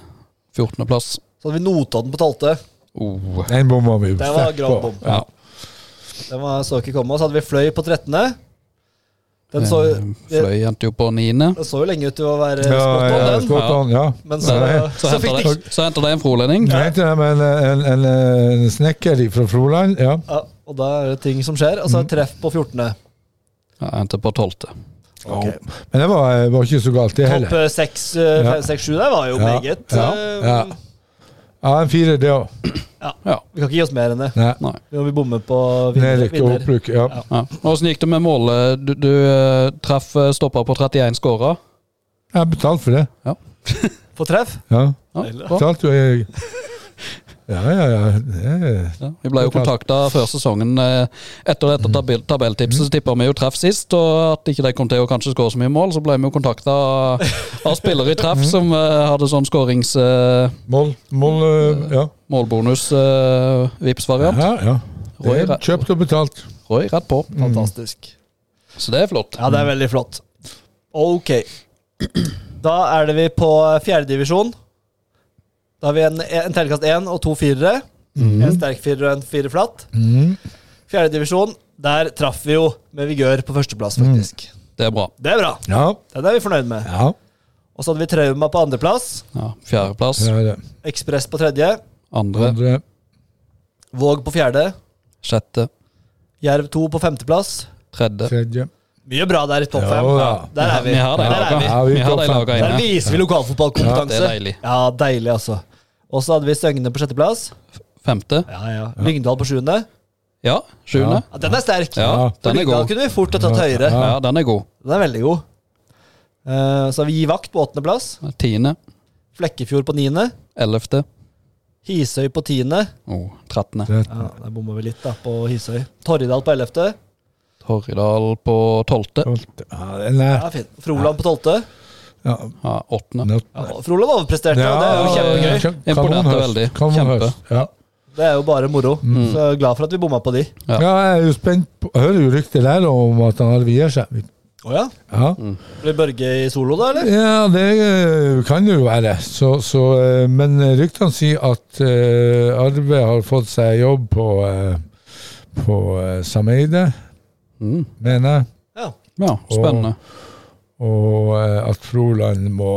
S2: Fjortendeplass.
S5: Så hadde vi Notodden på 12.
S2: Oh.
S3: Den bomma vi
S5: Det var
S3: sterkt
S5: grav
S3: på.
S5: bom.
S2: Ja.
S5: Den var, så ikke komme. Og så hadde vi Fløy på 13. Den så,
S2: Eh,
S5: den
S2: Fløy endte jo på niende.
S5: så jo lenge ut til å være
S3: Ja,
S5: spot on,
S3: ja,
S5: den.
S3: spot on, ja.
S5: Men så,
S3: Nei.
S2: Så
S5: så fikk de
S2: henter de, så henter de en frolending.
S3: Hva heter det med en, en, en, en snekker fra Froland? Ja.
S5: ja, Og da er det ting som skjer. Og så er
S3: Mm.
S5: det treff på 14.
S2: Ja, endte på tolvte.
S5: Okay.
S3: Men det var, eh, var ikke så galt, det
S5: Topp eh,
S3: heller.
S5: 6, 5, 6, 7 der var jo
S3: Ja,
S5: meget.
S3: ja,
S5: eh,
S3: ja. Ja, en firer, det òg.
S2: Ja.
S5: Vi kan ikke gi oss mer enn det.
S3: Nei.
S2: Nei.
S5: Vi må bomme på vinner.
S3: Nedrykk og
S5: vinner.
S3: opprykk. Ja.
S5: Ja.
S2: Ja. Åssen gikk det med målet? Du, du eh, traff eh, stopper på 31 skåra.
S3: Jeg har betalt for det.
S5: På treff.
S3: Ja.
S2: Ja, bra.
S3: Betalt jo jeg Ja, ja, ja. Det er
S2: ja. Vi ble jo kontakta før sesongen. eh, Etter dette tabell tabelltipset så tippa vi jo treff sist, og at ikke de kom til å kanskje skåre så mye mål, så ble vi jo kontakta av spillere i treff som eh, hadde sånn skåringsmålbonus,
S3: mål. mål øh, ja.
S2: vips variant
S3: ja, ja. Det
S2: Roy,
S3: er
S2: da.
S3: kjøpt og betalt.
S2: Roy rett på.
S3: Mm.
S5: Fantastisk.
S2: Så det er flott.
S5: Mm. Ja, det er veldig flott. Ok. Da er det vi på fjerdedivisjon. Da har vi en, en terningkast én og to firere. En sterk firer og en firer flatt.
S3: Mm.
S5: Fjerdedivisjon, der traff vi jo med vigør på førsteplass, faktisk.
S3: Mm.
S2: Det er bra.
S5: Det er bra.
S3: Ja.
S5: Den er vi fornøyd med.
S3: ja.
S5: Og så hadde vi Trauma på andreplass.
S2: Ja, Fjerdeplass.
S3: Det er det.
S5: Ekspress på tredje.
S2: Andre.
S3: Andre.
S5: Våg på fjerde.
S2: Sjette.
S5: Jerv to på femteplass.
S2: Tredje.
S3: Tredje.
S5: Mye bra der i topp
S3: Ja,
S5: fem.
S3: da.
S5: Der er vi.
S2: Vi har de
S5: Der er vi.
S2: laga
S3: vi
S2: Vi har
S3: topp
S2: de
S3: fem.
S2: laga
S5: Der
S2: inne.
S5: viser vi lokalfotballkompetanse.
S2: Ja, det er deilig.
S5: Ja, deilig, altså. Og så hadde vi Søgne på sjetteplass.
S2: Femte.
S5: Ja, ja. Lyngdal på sjuende.
S2: Ja. Sjuende.
S5: Ja, den er sterk.
S2: Ja,
S5: For
S2: den er
S5: Lyngdal
S2: god.
S5: kunne vi fort ha tatt høyere.
S2: Ja, den er god.
S5: Den er veldig god. Eh, så har vi Gi vakt på åttendeplass.
S2: Tiende.
S5: Flekkefjord på niende.
S2: Ellevte.
S5: Hisøy på tiende.
S2: Oh, trettende.
S5: Ja, Der bomma vi litt, da, på Hisøy. Torridal på ellevte.
S2: Torridal på tolvte.
S3: Tolvte. Ja, det er nært.
S5: Ja, fint. Froland på tolvte.
S3: Ja.
S2: Ja, åttende.
S3: Nå-
S5: Ja, og Froland overpresterte, og det er jo kjempegøy.
S3: kjem-
S2: Imponerte
S3: kanonhøst.
S2: veldig.
S3: Kanonhøst. Ja.
S5: Det er jo bare moro.
S2: Mm.
S5: Så jeg er glad for at vi bomma på de.
S2: Ja.
S3: Ja, jeg er jo spent på, jeg hører jo rykter der om at han Arve gir seg. Vi
S5: Å ja?
S3: Ja.
S5: Blir Børge i solo, da, eller?
S3: Ja, det eh, kan det jo være. Så, så, eh, men ryktene sier at eh, Arve har fått seg jobb på, eh, på eh, Sameide,
S2: Mm.
S3: mener jeg.
S5: Ja.
S2: Ja, spennende.
S3: Og eh, at Froland må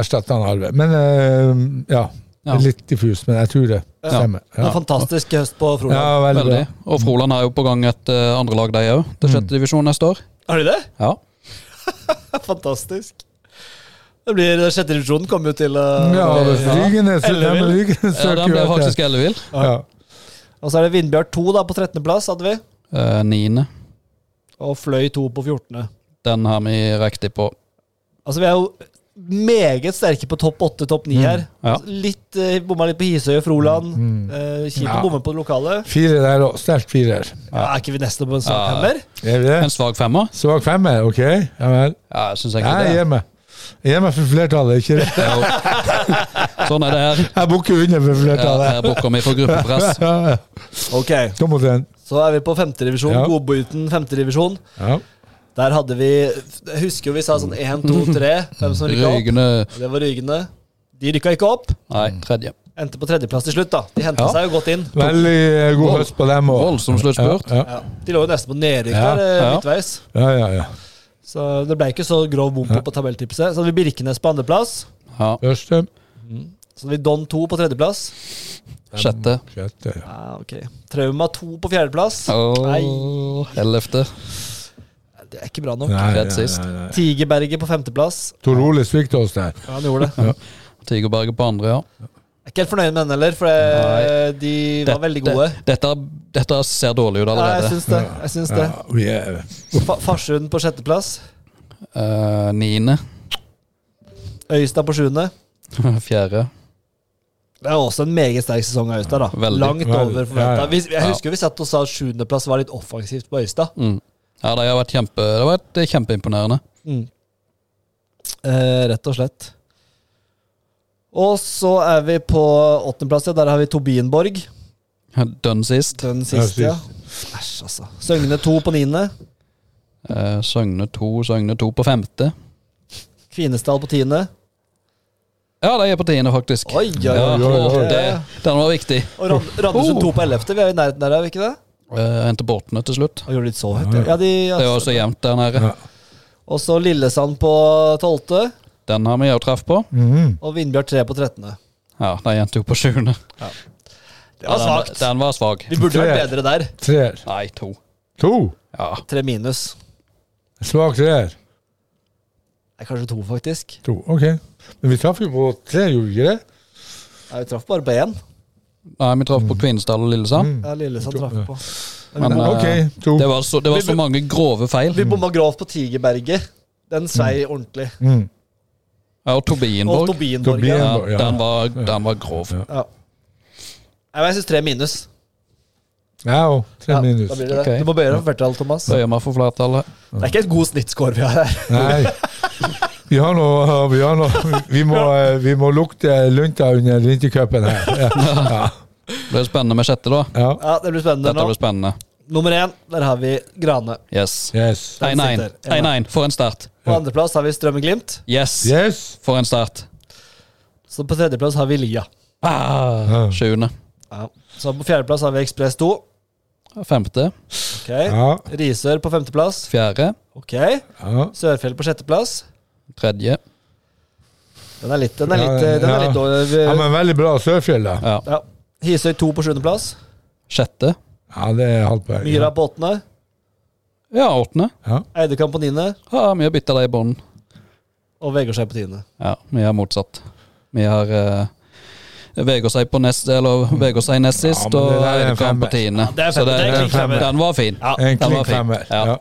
S3: erstatte han Arve. Men eh, ja, det
S2: Ja.
S3: er litt diffust, men jeg tror det
S5: Ja.
S3: stemmer.
S5: Det er
S3: Ja,
S5: en fantastisk høst på
S3: ja
S5: Froland.
S3: veldig bra.
S2: Veldig. Og Froland har jo på gang et eh, andre lag, de òg, til sjette divisjon neste år.
S5: Har de det?
S2: Ja.
S5: Fantastisk. Det blir Sjette divisjon kommer jo til eh,
S3: Ja, det-
S2: Ja.
S3: Rygenes
S5: Ellevill.
S3: men Rygenes
S2: ja
S3: søker
S2: Eh, den ble
S3: jo etter.
S2: faktisk ellevill.
S3: Ja.
S5: Og så er det Vindbjart 2 da, på 13. plass, hadde vi.
S2: Eh, Niende.
S5: Og Fløy 2 på 14.
S2: Den har vi riktig på.
S5: Altså, vi er jo meget sterke på topp 8, topp 9 her.
S2: ja.
S5: Litt eh, Bomma litt på Hisøy og Froland.
S3: Mm.
S5: Eh, Kjipt
S3: Ja.
S5: å bomme på det lokale.
S3: Fire der òg. Sterkt firer.
S5: Ja, er ikke vi nesten på en sak
S2: Ja.
S5: her mer?
S3: Er vi det?
S2: En svak femmer?
S3: Svak femmer, OK? Ja vel.
S2: Ja, jeg syns ikke
S3: Jeg
S2: det.
S3: gir meg. Jeg gir meg for flertallet, ikke
S2: Det er jo. Sånn er det her.
S3: Jeg bukker under for
S2: Ja, her
S3: flertallet.
S2: bukker vi for gruppepress.
S3: Ja, ja.
S5: Ok,
S3: Tom og Trend.
S5: så er vi på femtedivisjon.
S3: Ja.
S5: Ja. Godbiten femtedivisjon.
S3: Ja.
S5: Der hadde vi Jeg husker jo vi sa sånn 1, 2, 3. Hvem som rykka opp?
S2: Rygende
S5: Det var Rygene. De rykka ikke opp.
S2: Nei, tredje.
S5: Endte på tredjeplass til slutt, da. De henta
S2: Ja.
S5: seg jo godt inn.
S3: Veldig eh, god
S2: Vold.
S3: høst på dem òg.
S2: Voldsom sluttspurt.
S3: Ja,
S5: Ja. De lå jo nesten på nedrykk
S3: Ja,
S5: der, eh,
S2: ja.
S5: midtveis.
S3: ja, ja. ja.
S5: Så det ble ikke så grov bom på, på tabelltipset. Så hadde vi Birkenes på andreplass.
S2: Ja.
S3: Første,
S5: Så hadde vi Don 2 på tredjeplass.
S2: Sjette.
S3: sjette. ja.
S5: Ja, ok. Trauma 2 på fjerdeplass. Nei,
S2: Og ellevte.
S5: det er ikke bra nok.
S3: Nei, nei,
S2: Rett sist.
S3: nei, nei.
S5: Tigerberget på femteplass.
S3: Tor Ole svikta oss der.
S5: Ja, han gjorde det.
S2: Tigerberget på andre, ja.
S5: Jeg er ikke helt fornøyd med den heller, for eh, de var veldig gode.
S2: Dette, dette ser dårlig ut
S5: Ja, jeg
S2: allerede.
S5: syns det. Jeg syns det.
S3: Ja, vi er
S5: Fa Farsund på sjetteplass.
S2: Eh, Niende.
S5: Øystad på sjuende.
S2: Fjerde.
S5: Det er også en meget sterk sesong av Øystad. da
S2: Veldig.
S5: Langt over
S3: Veldig.
S5: forventa.
S3: Ja, ja.
S5: Vi- Jeg husker vi satt og sa at sjuendeplass var litt offensivt på Øystad.
S2: Mm. Ja, de har vært kjempe, det har vært kjempeimponerende.
S5: Eh, rett og slett. Og så er vi på åttendeplass. Ja. Der har vi Tobienborg.
S2: Dønn sist.
S5: Den siste, ja.
S3: Ja,
S5: Æsj, altså. Søgne to på niende.
S2: Eh, Søgne to, Søgne to på femte.
S5: Kvinesdal på tiende.
S2: Ja, de er på tiende, faktisk.
S5: Oi, oi,
S2: Ja,
S5: oi.
S2: og
S5: oi.
S2: Det, den var viktig.
S5: Og Rand Randesund
S2: Oh.
S5: to på ellevte. Vi er jo i nærheten der, er vi ikke det?
S2: Eh, Endte båtene til slutt.
S5: Og gjorde litt så høyt. Ja, de,
S2: Det var så jevnt der nede.
S3: Ja.
S5: Og så Lillesand på tolvte.
S2: Den har vi jo treff på.
S3: Mhm.
S5: Og Vindbjørn tre på trettende.
S2: Ja, de endte jo på sjuende.
S5: Det var
S2: Ja, den-
S5: svakt.
S2: Den var svak.
S5: Vi burde vært bedre der.
S3: Treer.
S2: Nei, to.
S3: To.
S2: Ja.
S5: Tre minus.
S3: Svak treer.
S5: Nei, kanskje to, faktisk.
S3: To. OK. Men vi traff jo på tre, gjorde vi ikke det?
S5: Nei, vi traff bare på én.
S2: Nei, vi traff på
S3: Mm.
S2: Kvinesdal og Lillesand.
S5: Ja, Lillesand traff på.
S2: Men, eh,
S3: OK, to.
S2: det var så, det var så mange grove feil.
S5: Vi bomma grovt på Tigerberget. Den svei ordentlig.
S3: Mm.
S2: Ja, og
S5: Og
S2: Tobienborg.
S5: Tobienborg.
S3: Tobien-
S5: Ja.
S2: Ja,
S3: Tobienborg, ja.
S2: den, var, den var grov.
S3: Ja.
S5: Ja. Nei, men Jeg syns tre minus.
S3: Ja, og tre
S5: Ja,
S3: minus.
S5: Da blir det det.
S2: Ok.
S5: Du må bøye deg for flertall, Thomas.
S2: Bøyer meg for flertallet.
S5: Det er ikke et god snittscore vi har her.
S3: Nei. Vi har noe Vi, har noe, vi, må, eh, vi må lukte lunta under vintercupen her. Ja. Ja.
S2: Det blir spennende med sjette, da.
S3: Ja.
S5: Ja, Det blir spennende
S2: Dette
S5: nå.
S2: blir spennende.
S5: Nummer én, der har vi Grane.
S2: Yes.
S3: Yes.
S2: 1-1.
S5: sitter.
S2: 1-1. For en start.
S5: På andreplass har vi Strømmeglimt.
S2: Yes.
S3: Yes.
S2: For en start.
S5: Så på tredjeplass har vi Lia.
S2: Ah, sjuende.
S5: Ja. Så på fjerdeplass har vi Ekspress 2.
S2: Femte.
S5: Ok.
S3: Ja.
S5: Risør på femteplass.
S2: Fjerde.
S5: Ok.
S3: ja.
S5: Sørfjell på sjetteplass.
S2: Tredje.
S5: Den er litt Den er
S3: Ja,
S5: litt, den er
S3: ja.
S5: litt over
S3: Ja, men veldig bra Sørfjell, da.
S2: Ja.
S5: ja. Hisøy 2 på sjuendeplass.
S2: Sjette.
S3: Ja, det er halvt poeng.
S5: Myra på åttende.
S2: Ja, åttende.
S3: Ja.
S5: Eidekamp på niende.
S2: Ja, vi har bytta det i bånn.
S5: Og Vegårshei på tiende.
S2: Ja, vi har motsatt. Vi har uh, Vegårshei på nest Eller Vegårshei nest
S3: Ja,
S2: sist,
S3: men det
S2: og
S3: der er en
S2: Eidekam på
S3: femmer.
S2: tiende.
S5: det er
S2: Så
S5: femmer. Det er en
S2: den-
S5: klink femmer.
S2: Den var fin.
S5: Ja.
S3: En
S2: Den var
S3: klink
S2: fin.
S3: femmer.
S2: Ja.
S3: Ja.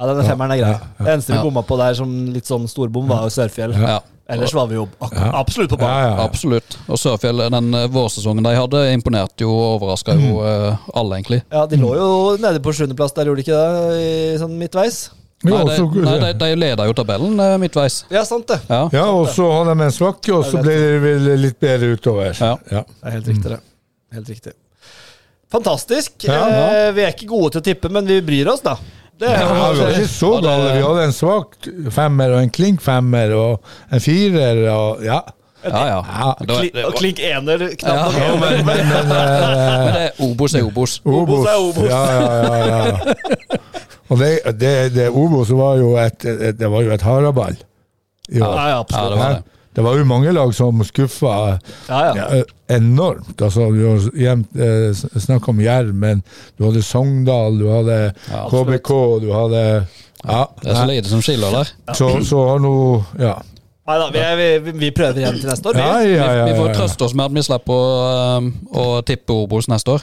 S5: Ja, denne femmeren er grei. Det eneste vi
S2: Ja.
S5: bomma på der som litt sånn storbom, var jo Sørfjell.
S2: Ja.
S5: Ellers var vi jo ak absolutt på
S3: Ja,
S5: banen.
S3: ja, ja.
S2: Absolutt. Og Sørfjell, den eh, vårsesongen de hadde, imponerte jo og overraska jo
S3: Mm.
S2: eh, alle, egentlig.
S5: Ja, De lå jo nede på sjuendeplass der, gjorde de ikke det? I, sånn midtveis.
S3: Jo,
S2: Nei, de,
S3: så,
S2: nei, de, de leda jo tabellen eh, midtveis.
S5: Ja, sant det.
S2: Ja.
S3: ja, og så hadde de en svakke, og så ble det vel litt bedre utover.
S2: Ja.
S3: Ja.
S5: Det er helt riktig, det. Helt riktig. Fantastisk.
S3: Ja,
S5: Eh, vi er ikke gode til å tippe, men vi bryr oss, da. Det
S3: Ja,
S5: er
S3: vi var ikke så
S5: Ja, det-
S3: gale. Vi hadde en svak femmer og en klink femmer og en firer og ja.
S2: Ja, ja.
S3: Ja,
S2: Det var- det
S5: Kli- Og
S2: var-
S5: klink ener
S2: Ja.
S5: knapt nok.
S3: Ja, men, men, men eh,
S2: Men det er Obos er Obos.
S5: Obos er Obos.
S3: Ja, ja, ja, ja. Og det, det, det Obos var jo et, et, det var jo et haraball. i år.
S5: Ja, ja,
S2: Ja,
S5: absolutt.
S2: det var det.
S3: Det var jo mange lag som skuffa
S5: Ja, ja.
S3: eh, enormt. Altså, du har jevnt, eh, s- snakk om Jerv, men du hadde Sogndal, du hadde
S2: Ja, absolutt.
S3: KBK, du hadde Ja.
S2: Det er så lite som skiller der.
S3: Så, så har nå Ja.
S5: Neida, vi, er, vi, vi prøver igjen til neste år.
S3: Ja,
S5: Vi.
S3: ja, ja,
S2: Vi
S3: ja,
S2: får
S3: ja.
S2: trøste oss med at vi slipper å, um, å tippe Obos neste år.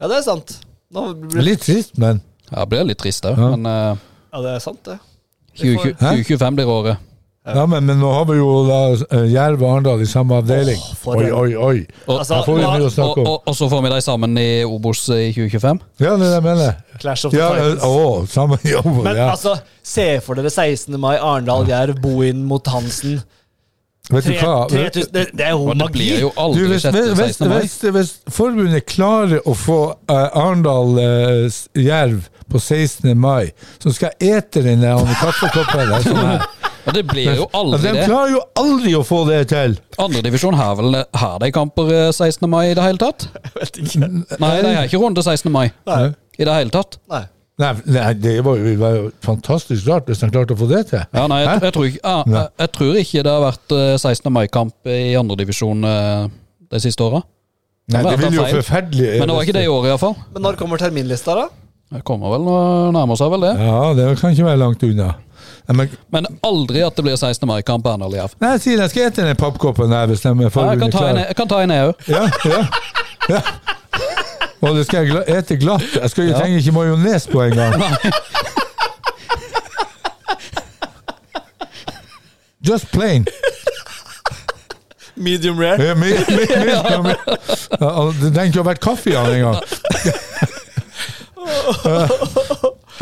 S5: Ja, det er sant. Nå blir,
S3: Litt trist, men
S2: Ja, det blir litt trist òg,
S3: Ja.
S2: men uh,
S5: ja, det er sant, det. Vi får-
S2: 2020 2025 blir året.
S3: Ja, men, men nå har vi jo da eh, Jerv og Arendal i samme avdeling.
S5: Åh, for
S3: Oi,
S5: en-
S3: oi, oi.
S2: Og,
S5: Altså,
S3: Her får vi
S5: hva-
S3: mye å
S2: og,
S3: snakke om.
S2: og, og så får vi de sammen i Obos i 2025.
S3: Ja, det er det jeg mener.
S5: Clash of the
S3: Ja,
S5: Titans.
S3: eh, å, samme jobb.
S5: Men
S3: ja.
S5: altså, se for dere 16. mai, Arendal, Jerv, Bohin mot Hansen.
S3: Vet du
S5: Tre-
S3: hva?
S5: 3000 Det, det er jo
S2: Og det
S5: magi!
S2: blir jo
S3: Du,
S2: aldri
S3: hvis,
S2: sjette-
S3: hvis, hvis,
S2: 16. mai.
S3: hvis, hvis forbundet klarer å få eh, Arendal eh, s- Jerv på 16. mai, så skal jeg ete den der andre kaffekoppen. der som er.
S2: Og det blir
S3: Ja,
S2: jo aldri
S3: de
S2: det.
S3: klarer jo aldri å få det til!
S2: Andredivisjon har vel har de kamper eh, 16. mai i det hele tatt?
S5: Jeg vet ikke.
S2: Nei, de har ikke runde 16. mai
S5: Nei.
S2: i det hele tatt.
S5: Nei.
S3: Nei, nei det var jo, det var jo fantastisk rart hvis de klarte å få det til.
S2: Ja, nei, jeg, jeg, tror ikke, ja,
S3: Nei.
S2: jeg, jeg tror ikke det har vært eh, 16. mai-kamp i andredivisjon eh, de siste åra.
S3: Nei, det
S2: men at han
S3: ville jo
S2: feil.
S3: forferdelig
S2: Men det var ikke det i året, iallfall.
S5: Men når kommer terminlista, da?
S2: Det kommer vel nå nærmer seg vel det.
S3: Ja, det kan ikke være langt unna. Nei, men,
S2: Men aldri at det blir 16. mai-kamp på Arendal IF.
S3: nei jeg sier jeg skal ete den pappkoppen der hvis de
S2: Ja, jeg
S3: forbundet
S2: kan ta en- E-
S3: klarer.
S2: jeg kan ta en, jeg òg.
S3: Ja, ja, ja. Og det skal jeg gla- ete glatt. Jeg, skal, jeg
S2: Ja.
S3: trenger ikke majones på engang. Just plain.
S5: Medium rare.
S3: Eh, mi- mi- mi- mi- Ja, og Det trenger ikke å ha vært kaffe i den engang.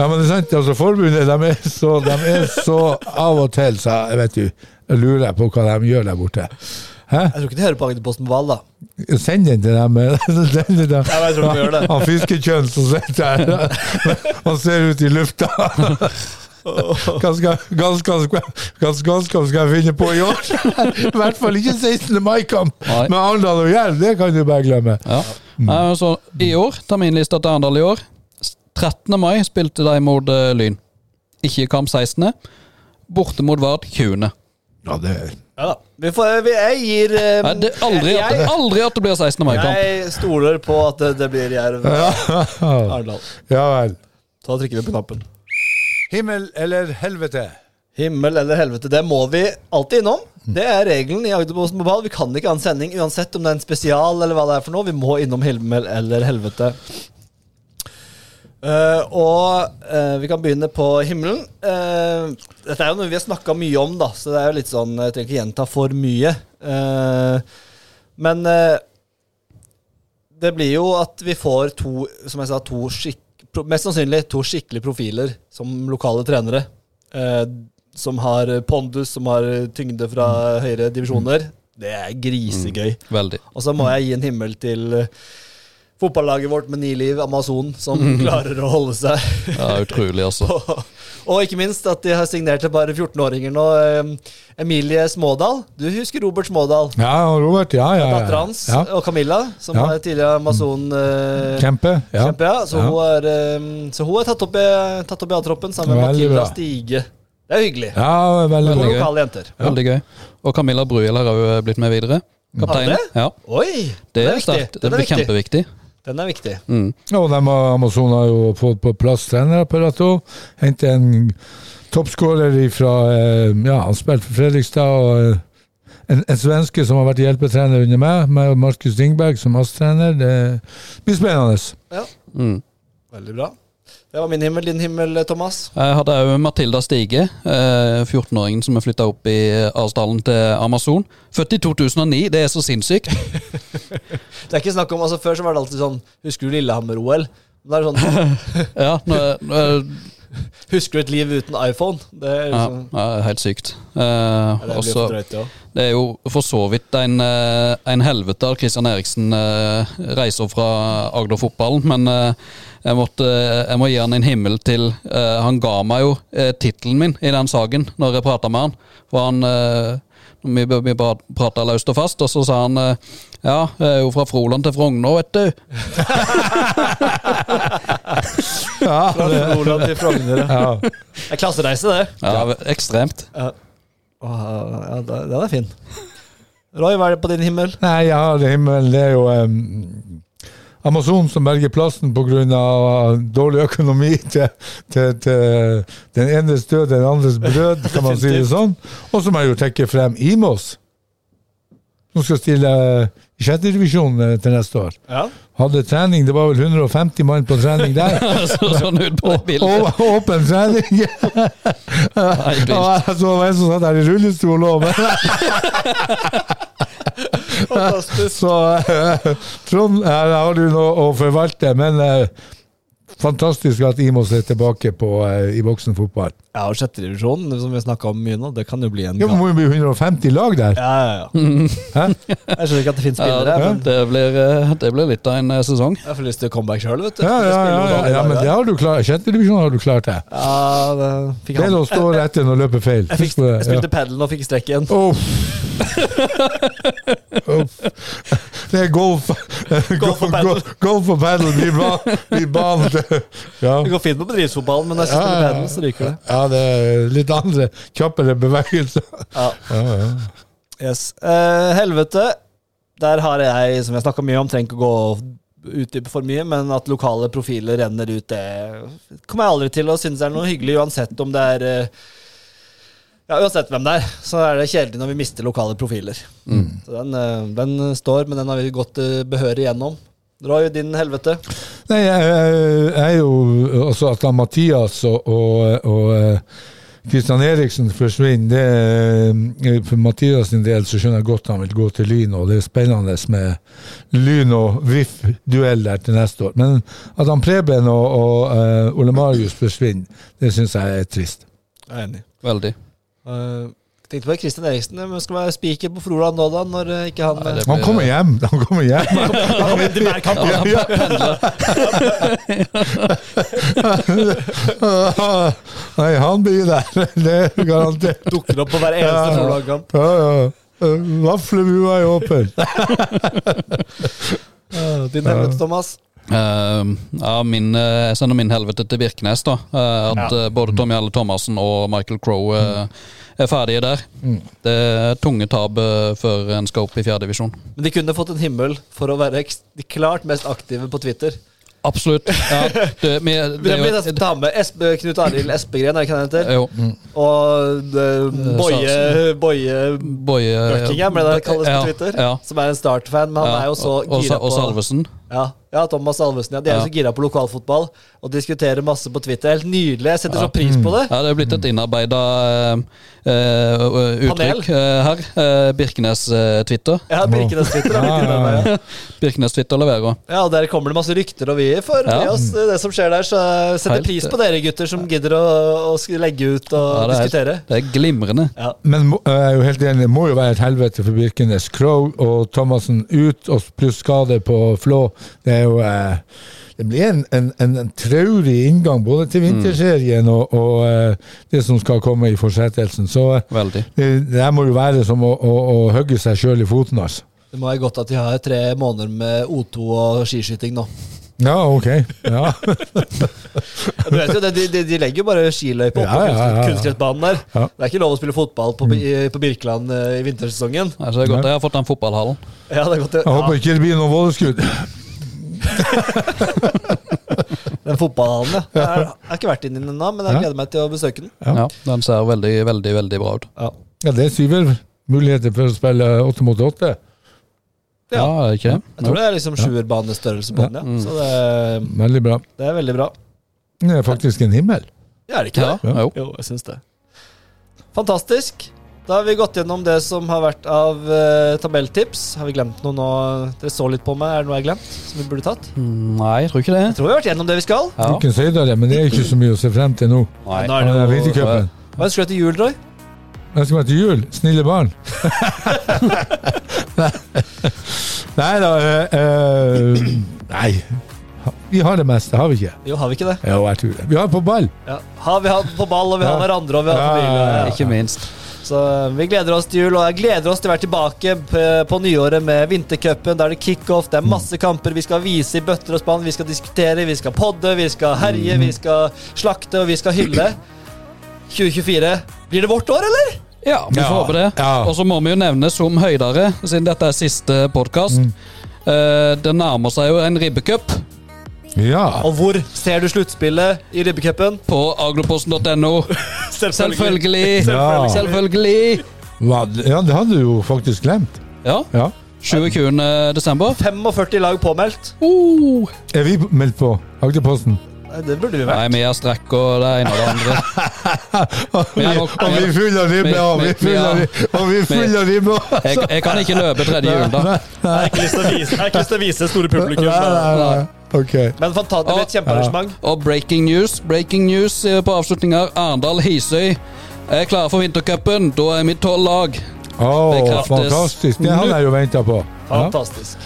S3: Ja, men det er sant, altså Forbundet de er, så, de er så av og til, så jeg vet du, jeg lurer jeg på hva de gjør der borte. Hæ?
S5: Jeg tror ikke de hører på Agderposten på Val, da.
S3: Send den til dem. eh, Den til dem.
S5: Ja, men jeg tror ikke vi gjør det.
S3: Han fiskekjønn som sitter her. Han ser ut i lufta. Hva skal, hva skal, hva skal, hva skal jeg finne på i år? I hvert fall ikke 16. mai-kamp
S2: Nei.
S3: med Arendal og Jerv. Det kan du bare glemme.
S2: Ja. Nei, Så i år, terminlista til Arendal i år. s- 13. mai spilte de mot eh, Lyn. Ikke kamp 16. Borte mot Vard 20.
S3: Ja, det,
S5: Ja da. Vi får, vi, jeg gir eh,
S2: Nei, det er aldri, at,
S5: jeg,
S2: aldri at det blir 16. mai-kamp.
S5: jeg stoler på at det, det blir Jerv Arendal.
S3: ja vel.
S5: Så da trykker vi på knappen.
S3: Himmel eller helvete?
S5: Himmel eller helvete, det må vi alltid innom. Det er regelen i Agderposten på ball. Vi kan ikke ha en sending uansett om det er en spesial eller hva det er for noe. Vi må innom himmel eller helvete. Eh, og eh, vi kan begynne på himmelen. Eh, dette er jo noe vi har snakka mye om, da, så det er jo litt sånn Jeg trenger ikke gjenta for mye. Eh, men eh, det blir jo at vi får to, som jeg sa, to skikk, pro- mest sannsynlig to skikkelige profiler som lokale trenere. Eh, som har pondus, som har tyngde fra høyere divisjoner. Det er grisegøy.
S2: Veldig.
S5: Og så må jeg gi en himmel til eh, fotballaget vårt med Niliv Amazon, som klarer å holde seg.
S2: Ja, utrolig, altså.
S5: og, og ikke minst at de har signert til bare 14-åringer nå. eh, Emilie Smådal. Du husker Robert Smådal?
S3: Ja, og Robert. Ja, ja.
S5: Dattera
S3: ja.
S5: hans
S3: ja.
S5: og Camilla, som
S3: Ja.
S5: er tidligere Amazon-kjempe.
S3: Kjempe. Ja.
S5: ja. Så,
S3: Ja.
S5: Hun er, eh, så hun er tatt opp i, tatt opp i A-troppen sammen med
S3: Veldig
S5: Matilda
S3: bra.
S5: Stige. Det er hyggelig.
S3: ja, veldig
S5: To
S3: bra.
S2: gøy.
S5: lokale jenter.
S2: Veldig gøy. Og Camilla Bruel har òg blitt med videre. Kapteinen.
S5: Har
S2: Ja,
S5: Oi!
S2: det
S5: den
S2: er sterkt. Det
S5: Den er
S2: blir
S5: viktig.
S2: kjempeviktig.
S5: Den er viktig.
S2: Mm.
S3: Og de har Amazon har jo fått på plass trenerapparat òg. Hentet en toppskårer fra Ja, han spilte for Fredrikstad. og eh, en, en svenske som har vært hjelpetrener under meg, med Markus Dingberg som ASS-trener. Det blir spennende.
S5: Ja.
S2: Mm.
S5: Veldig bra. Det var min himmel, din himmel, Thomas.
S2: Jeg hadde òg Matilda Stige, eh, 14-åringen som er flytta opp i eh, Arsdalen til Amazon. Født i 2009, det er så sinnssykt.
S5: Det er ikke snakk om, altså Før så var det alltid sånn Husker du Lillehammer-OL? Men da er det sånn
S2: Ja, nå, nå,
S5: Husker du et liv uten iPhone? Det er
S2: Ja,
S5: liksom,
S2: ja, helt sykt. Eh,
S5: ja, det blir
S2: og
S5: for
S2: så-
S5: drøyt, det òg.
S2: det er jo for så vidt en, eh, en helvete at Christian Eriksen eh, reiser fra Agder-fotballen, men eh, jeg, måtte, eh, jeg må gi han en himmel til eh, Han ga meg jo eh, tittelen min i den saken når jeg prata med han. For han eh, vi, vi prata løst og fast, og så sa han eh, Ja, jeg er jo fra Froland til Frogner, vet du.
S5: Fra Nordland til Frogner. ja.
S3: Ja.
S5: Det er klassereise, det.
S2: Ja, Ekstremt.
S5: Ja, Åh, ja da- den er fin. Roy, hva er det på din himmel?
S3: Nei, jeg har himmel. Det er jo em, Amazon som berger plassen pga. dårlig økonomi til, til, til den enes død, den andres brød, kan man si det sånn. Og så må jeg jo trekke frem Imos. Som skal stille eh, i sjettedivisjon til neste år.
S5: Ja.
S3: Hadde trening, det var vel 150 mann på trening der.
S2: Så, sånn ut på det bildet.
S3: Og åpen trening!
S2: Nei,
S3: Ja,
S2: vilt.
S3: jeg så var en som satt her i rullestol òg, men
S5: Fantastisk.
S3: Så eh, Trond, her har du noe å forvalte, men eh, fantastisk at Imos er tilbake på, eh, i voksen fotball.
S5: Ja, og sjettedivisjonen, som vi snakka om mye nå, det kan jo bli en
S3: Ja, det
S5: gang.
S3: må jo bli 150 lag der!
S5: Ja, ja, ja.
S3: Hæ?
S5: Jeg skjønner ikke at det finnes
S2: Ja,
S5: spillere.
S2: det,
S5: men
S2: det, blir, eh, det blir litt av en eh, sesong.
S5: Jeg får lyst til comeback sjøl, vet du.
S3: Ja, ja, ja, ja, ja, men det har du klart. Sjettedivisjon har du klart det.
S5: Ja, det fikk
S3: Det er
S5: han.
S3: å stå rett inn og løpe feil.
S5: Jeg, fikk, jeg spilte padel og fikk strekken.
S3: Uff. Uff. Det er golf.
S5: Golf og paddle.
S3: Golf og paddle blir ba- blir banen til Ja.
S5: Det går fint på bedriftsfotballen, men når jeg spiller padel, så ryker det.
S3: ja, det er litt andre, kjappere bevegelser.
S5: Ja.
S3: Ja, ja.
S5: Yes. Eh, helvete. Der har jeg, som jeg snakka mye om, trenger ikke å gå utdype for mye, men at lokale profiler renner ut, det kommer jeg aldri til å synes er noe hyggelig, uansett om det er eh, Ja, uansett hvem det er, så er det kjedelig når vi mister lokale profiler. Så den, eh, den står, men den har vi gått eh, behørig gjennom. Roy, din helvete.
S3: Nei, jeg, jeg, jeg er jo altså at da Mathias og, og, og Kristian Eriksen forsvinner det, eh, For Mathias sin del så skjønner jeg godt han vil gå til Lyn, og det er spennende med Lyn og VIF-duell der til neste år. Men at han Preben og, og eh, Ole Marius forsvinner, det syns jeg er trist.
S5: Jeg er enig.
S2: Veldig.
S5: Eh, tenkte på Kristian Eriksen, men skal være spiker på Froland nå, da, når eh, ikke han
S2: Nei, det
S3: Han
S2: blir-
S3: kommer hjem! Han kommer hjem.
S5: ja,
S3: Ja. Nei, han blir der, det er garantert.
S5: Dukker opp på hver eneste Froland-kamp.
S3: Ja, ja. Eh, Vaffelmua er åpen.
S5: Din helvete, Thomas.
S2: Eh, ja, min, eh, jeg sender min helvete til Birkenes, da. Eh, at eh, både Tommy Alle Thomassen og Michael Crowe
S5: Mm.
S2: eh, er ferdige der. Det er tunge tap eh, før en skal opp i fjerdedivisjon.
S5: Men de kunne fått en himmel for å være eks- de klart mest aktive på Twitter.
S2: Absolutt. Ja, det,
S5: Vi
S2: vi, det er
S5: kan
S2: jo,
S5: nesten Mm. ta med Espe, Knut Arild Espegren, er det ikke han heter?
S2: jo
S5: Og eh, det- Boje, Boje
S2: Boje
S5: Børtingham, ble det kalles på
S2: eh, ja,
S5: Twitter.
S2: Ja,
S5: Som er en Start-fan, men han
S2: ja.
S5: er jo så
S2: og,
S5: gira
S2: og, og
S5: på
S2: Salvesen.
S5: ja, ja, Thomas Salvesen. Ja. De er jo
S2: Ja.
S5: så gira på lokalfotball og diskuterer masse på Twitter. Helt nydelig. Jeg setter så pris på det. Mm.
S2: Ja, det er blitt et innarbeida uttrykk eh, her. Eh, Birkenes eh, Twitter.
S5: Ja, Birkenes Twitter. er litt innom meg, ja.
S2: Birkenes Twitter leverer.
S5: Ja, og Der kommer det masse rykter, og vi får
S2: Ja.
S5: med oss det som skjer der. Så jeg setter
S2: Helt, eh,
S5: pris på dere gutter som gidder å, å sk- legge ut og
S2: Ja, det, er,
S5: diskutere.
S2: det er glimrende.
S5: Ja.
S3: Men må- jeg er jo helt enig, det må jo være et helvete for Birkenes. Crow og Thomassen ut, og pluss skade på Flå. Det er jo eh, Det blir en, en, en, en traurig inngang både til vinterserien og, og eh, det som skal komme i fortsettelsen. Så eh,
S2: Veldig.
S3: det, det her må jo være som å, å, å hogge seg sjøl i foten, altså.
S5: Det må være godt at de har tre måneder med O2 og skiskyting nå.
S3: Ja, ok. Ja.
S5: Du vet jo det, De, de, de legger jo bare skiløype opp
S3: Ja,
S5: på
S3: ja, ja, ja.
S5: kunstgress- kunstgressbanen der.
S3: Ja.
S5: Det er ikke lov å spille fotball på, i, på Birkeland eh, i vintersesongen.
S2: Altså, det er godt jeg har fått den fotballhallen.
S5: Ja, det er godt det.
S3: Jeg håper
S5: Ja,
S3: ikke det blir noe voldeskudd.
S5: den fotballhallen, ja. Jeg har- jeg har ikke vært inn i den ennå, men jeg gleder meg til å besøke den.
S2: Ja. Den ser veldig, veldig veldig bra ut.
S5: Ja.
S3: Ja, det er syver muligheter for å spille åtte mot åtte.
S5: Ja.
S2: Ja, er det ikke det?
S5: Jeg tror det er liksom sjuerbanestørrelse på den, ja.
S2: Mm.
S5: Så det,
S3: Veldig bra.
S5: det er veldig bra.
S3: Det er faktisk en himmel.
S5: Ja, er det ikke det?
S2: Jo.
S5: Jo, jeg syns det. Fantastisk. Da har vi gått gjennom det som har vært av eh, tabelltips. Har vi glemt noe nå? Dere så litt på meg. Er det noe jeg har glemt? Som vi burde tatt?
S2: Mm, Nei, jeg tror ikke det.
S5: Jeg tror vi har vært gjennom det vi skal.
S2: Ja.
S3: Du kan si det, men det er ikke så mye å se frem til nå.
S2: Nei.
S5: Nå er det
S3: Han er
S5: jo-
S3: Vintercupen.
S5: Hva ønsker du deg til jul, Roy?
S3: Jeg skal være til jul. Snille barn. nei da eh, eh, Nei. Vi har det meste, har vi ikke?
S5: Jo, har vi ikke det?
S3: Jo, jeg tror det. Vi har på ball.
S5: Ja. Har vi hatt på ball, og vi har
S3: Ja.
S5: hverandre, og vi har
S3: Ja, ja,
S5: familie.
S2: Ikke minst.
S5: Så eh, vi gleder oss til jul, og jeg gleder oss til å være tilbake p- på nyåret med vintercupen. Da er det kickoff, det er masse kamper. Vi skal vise i bøtter og spann, vi skal diskutere, vi skal podde, vi skal herje, vi skal slakte, og vi skal hylle. 2024. Blir det vårt år, eller?
S2: Ja, vi
S3: Ja.
S2: får håpe det.
S3: Ja.
S2: Og så må vi jo nevne som høydere, siden dette er siste podkast Det nærmer seg jo en ribbecup
S3: Ja.
S5: Og hvor ser du sluttspillet i ribbecupen?
S2: på agloposten.no. Selvfølgelig!
S3: Ja.
S2: Selvfølgelig!
S3: Hva? ja, det hadde du jo faktisk glemt.
S2: Ja.
S3: Ja.
S2: 27. desember.
S5: 45 lag påmeldt.
S2: Uh.
S3: Er vi meldt på Agderposten?
S5: Nei, Det burde vi vært.
S2: Nei, vi har strekk og det ene og det andre. Vi er nok-
S3: Og vi er fulle av ribbe, og vi er fulle av ribbe, og vi er fulle av ribbe!
S2: Jeg, jeg kan ikke løpe tredje jul, da.
S4: Jeg har ikke lyst til å vise, jeg har ikke lyst til å vise det store publikum.
S3: Nei,
S4: så-
S3: nei, nei. Ok.
S5: Men fantastisk, det blir et kjempearrangement.
S2: Og breaking news breaking news eh, på avslutninger. Arendal-Hisøy er klare for vintercupen. Da er vi tolv lag.
S3: Å,
S2: Bekreftes.
S3: fantastisk. Det hadde jeg jo venta på. Ja.
S5: Fantastisk.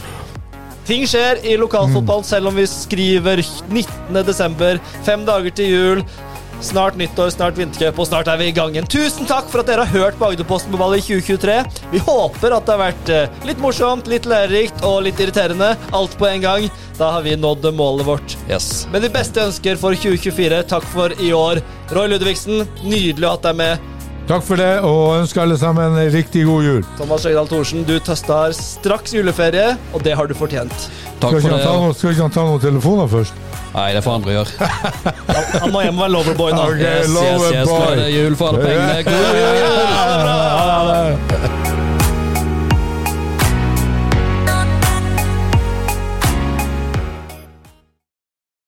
S5: Ting skjer i lokalfotballen selv om vi skriver 19. desember, fem dager til jul. Snart nyttår, snart vintercup, og snart er vi i gang igjen. Tusen takk for at dere har hørt på Agderposten på ballet i 2023. Vi håper at det har vært eh, litt morsomt, litt lærerikt og litt irriterende. Alt på en gang. Da har vi nådd målet vårt.
S2: Yes.
S5: Med de beste ønsker for 2024. Takk for i år. Roy Ludvigsen, nydelig at du er med.
S3: Takk for det, og ønsker alle sammen en riktig god jul.
S5: Thomas Høgdahl Thorsen, du tøster straks juleferie, og det har du fortjent.
S3: Skal
S2: Takk for
S3: ikke han ta
S2: det.
S3: noen, skal ikke han ta noen telefoner først?
S2: Nei, det får andre gjøre.
S5: Han må hjem og være loverboy nå.
S3: Ok,
S2: Yes, yes,
S3: lover
S2: yes.
S3: boy.
S2: Glede jul for alle pengene. God jul!
S3: Ja, det er bra.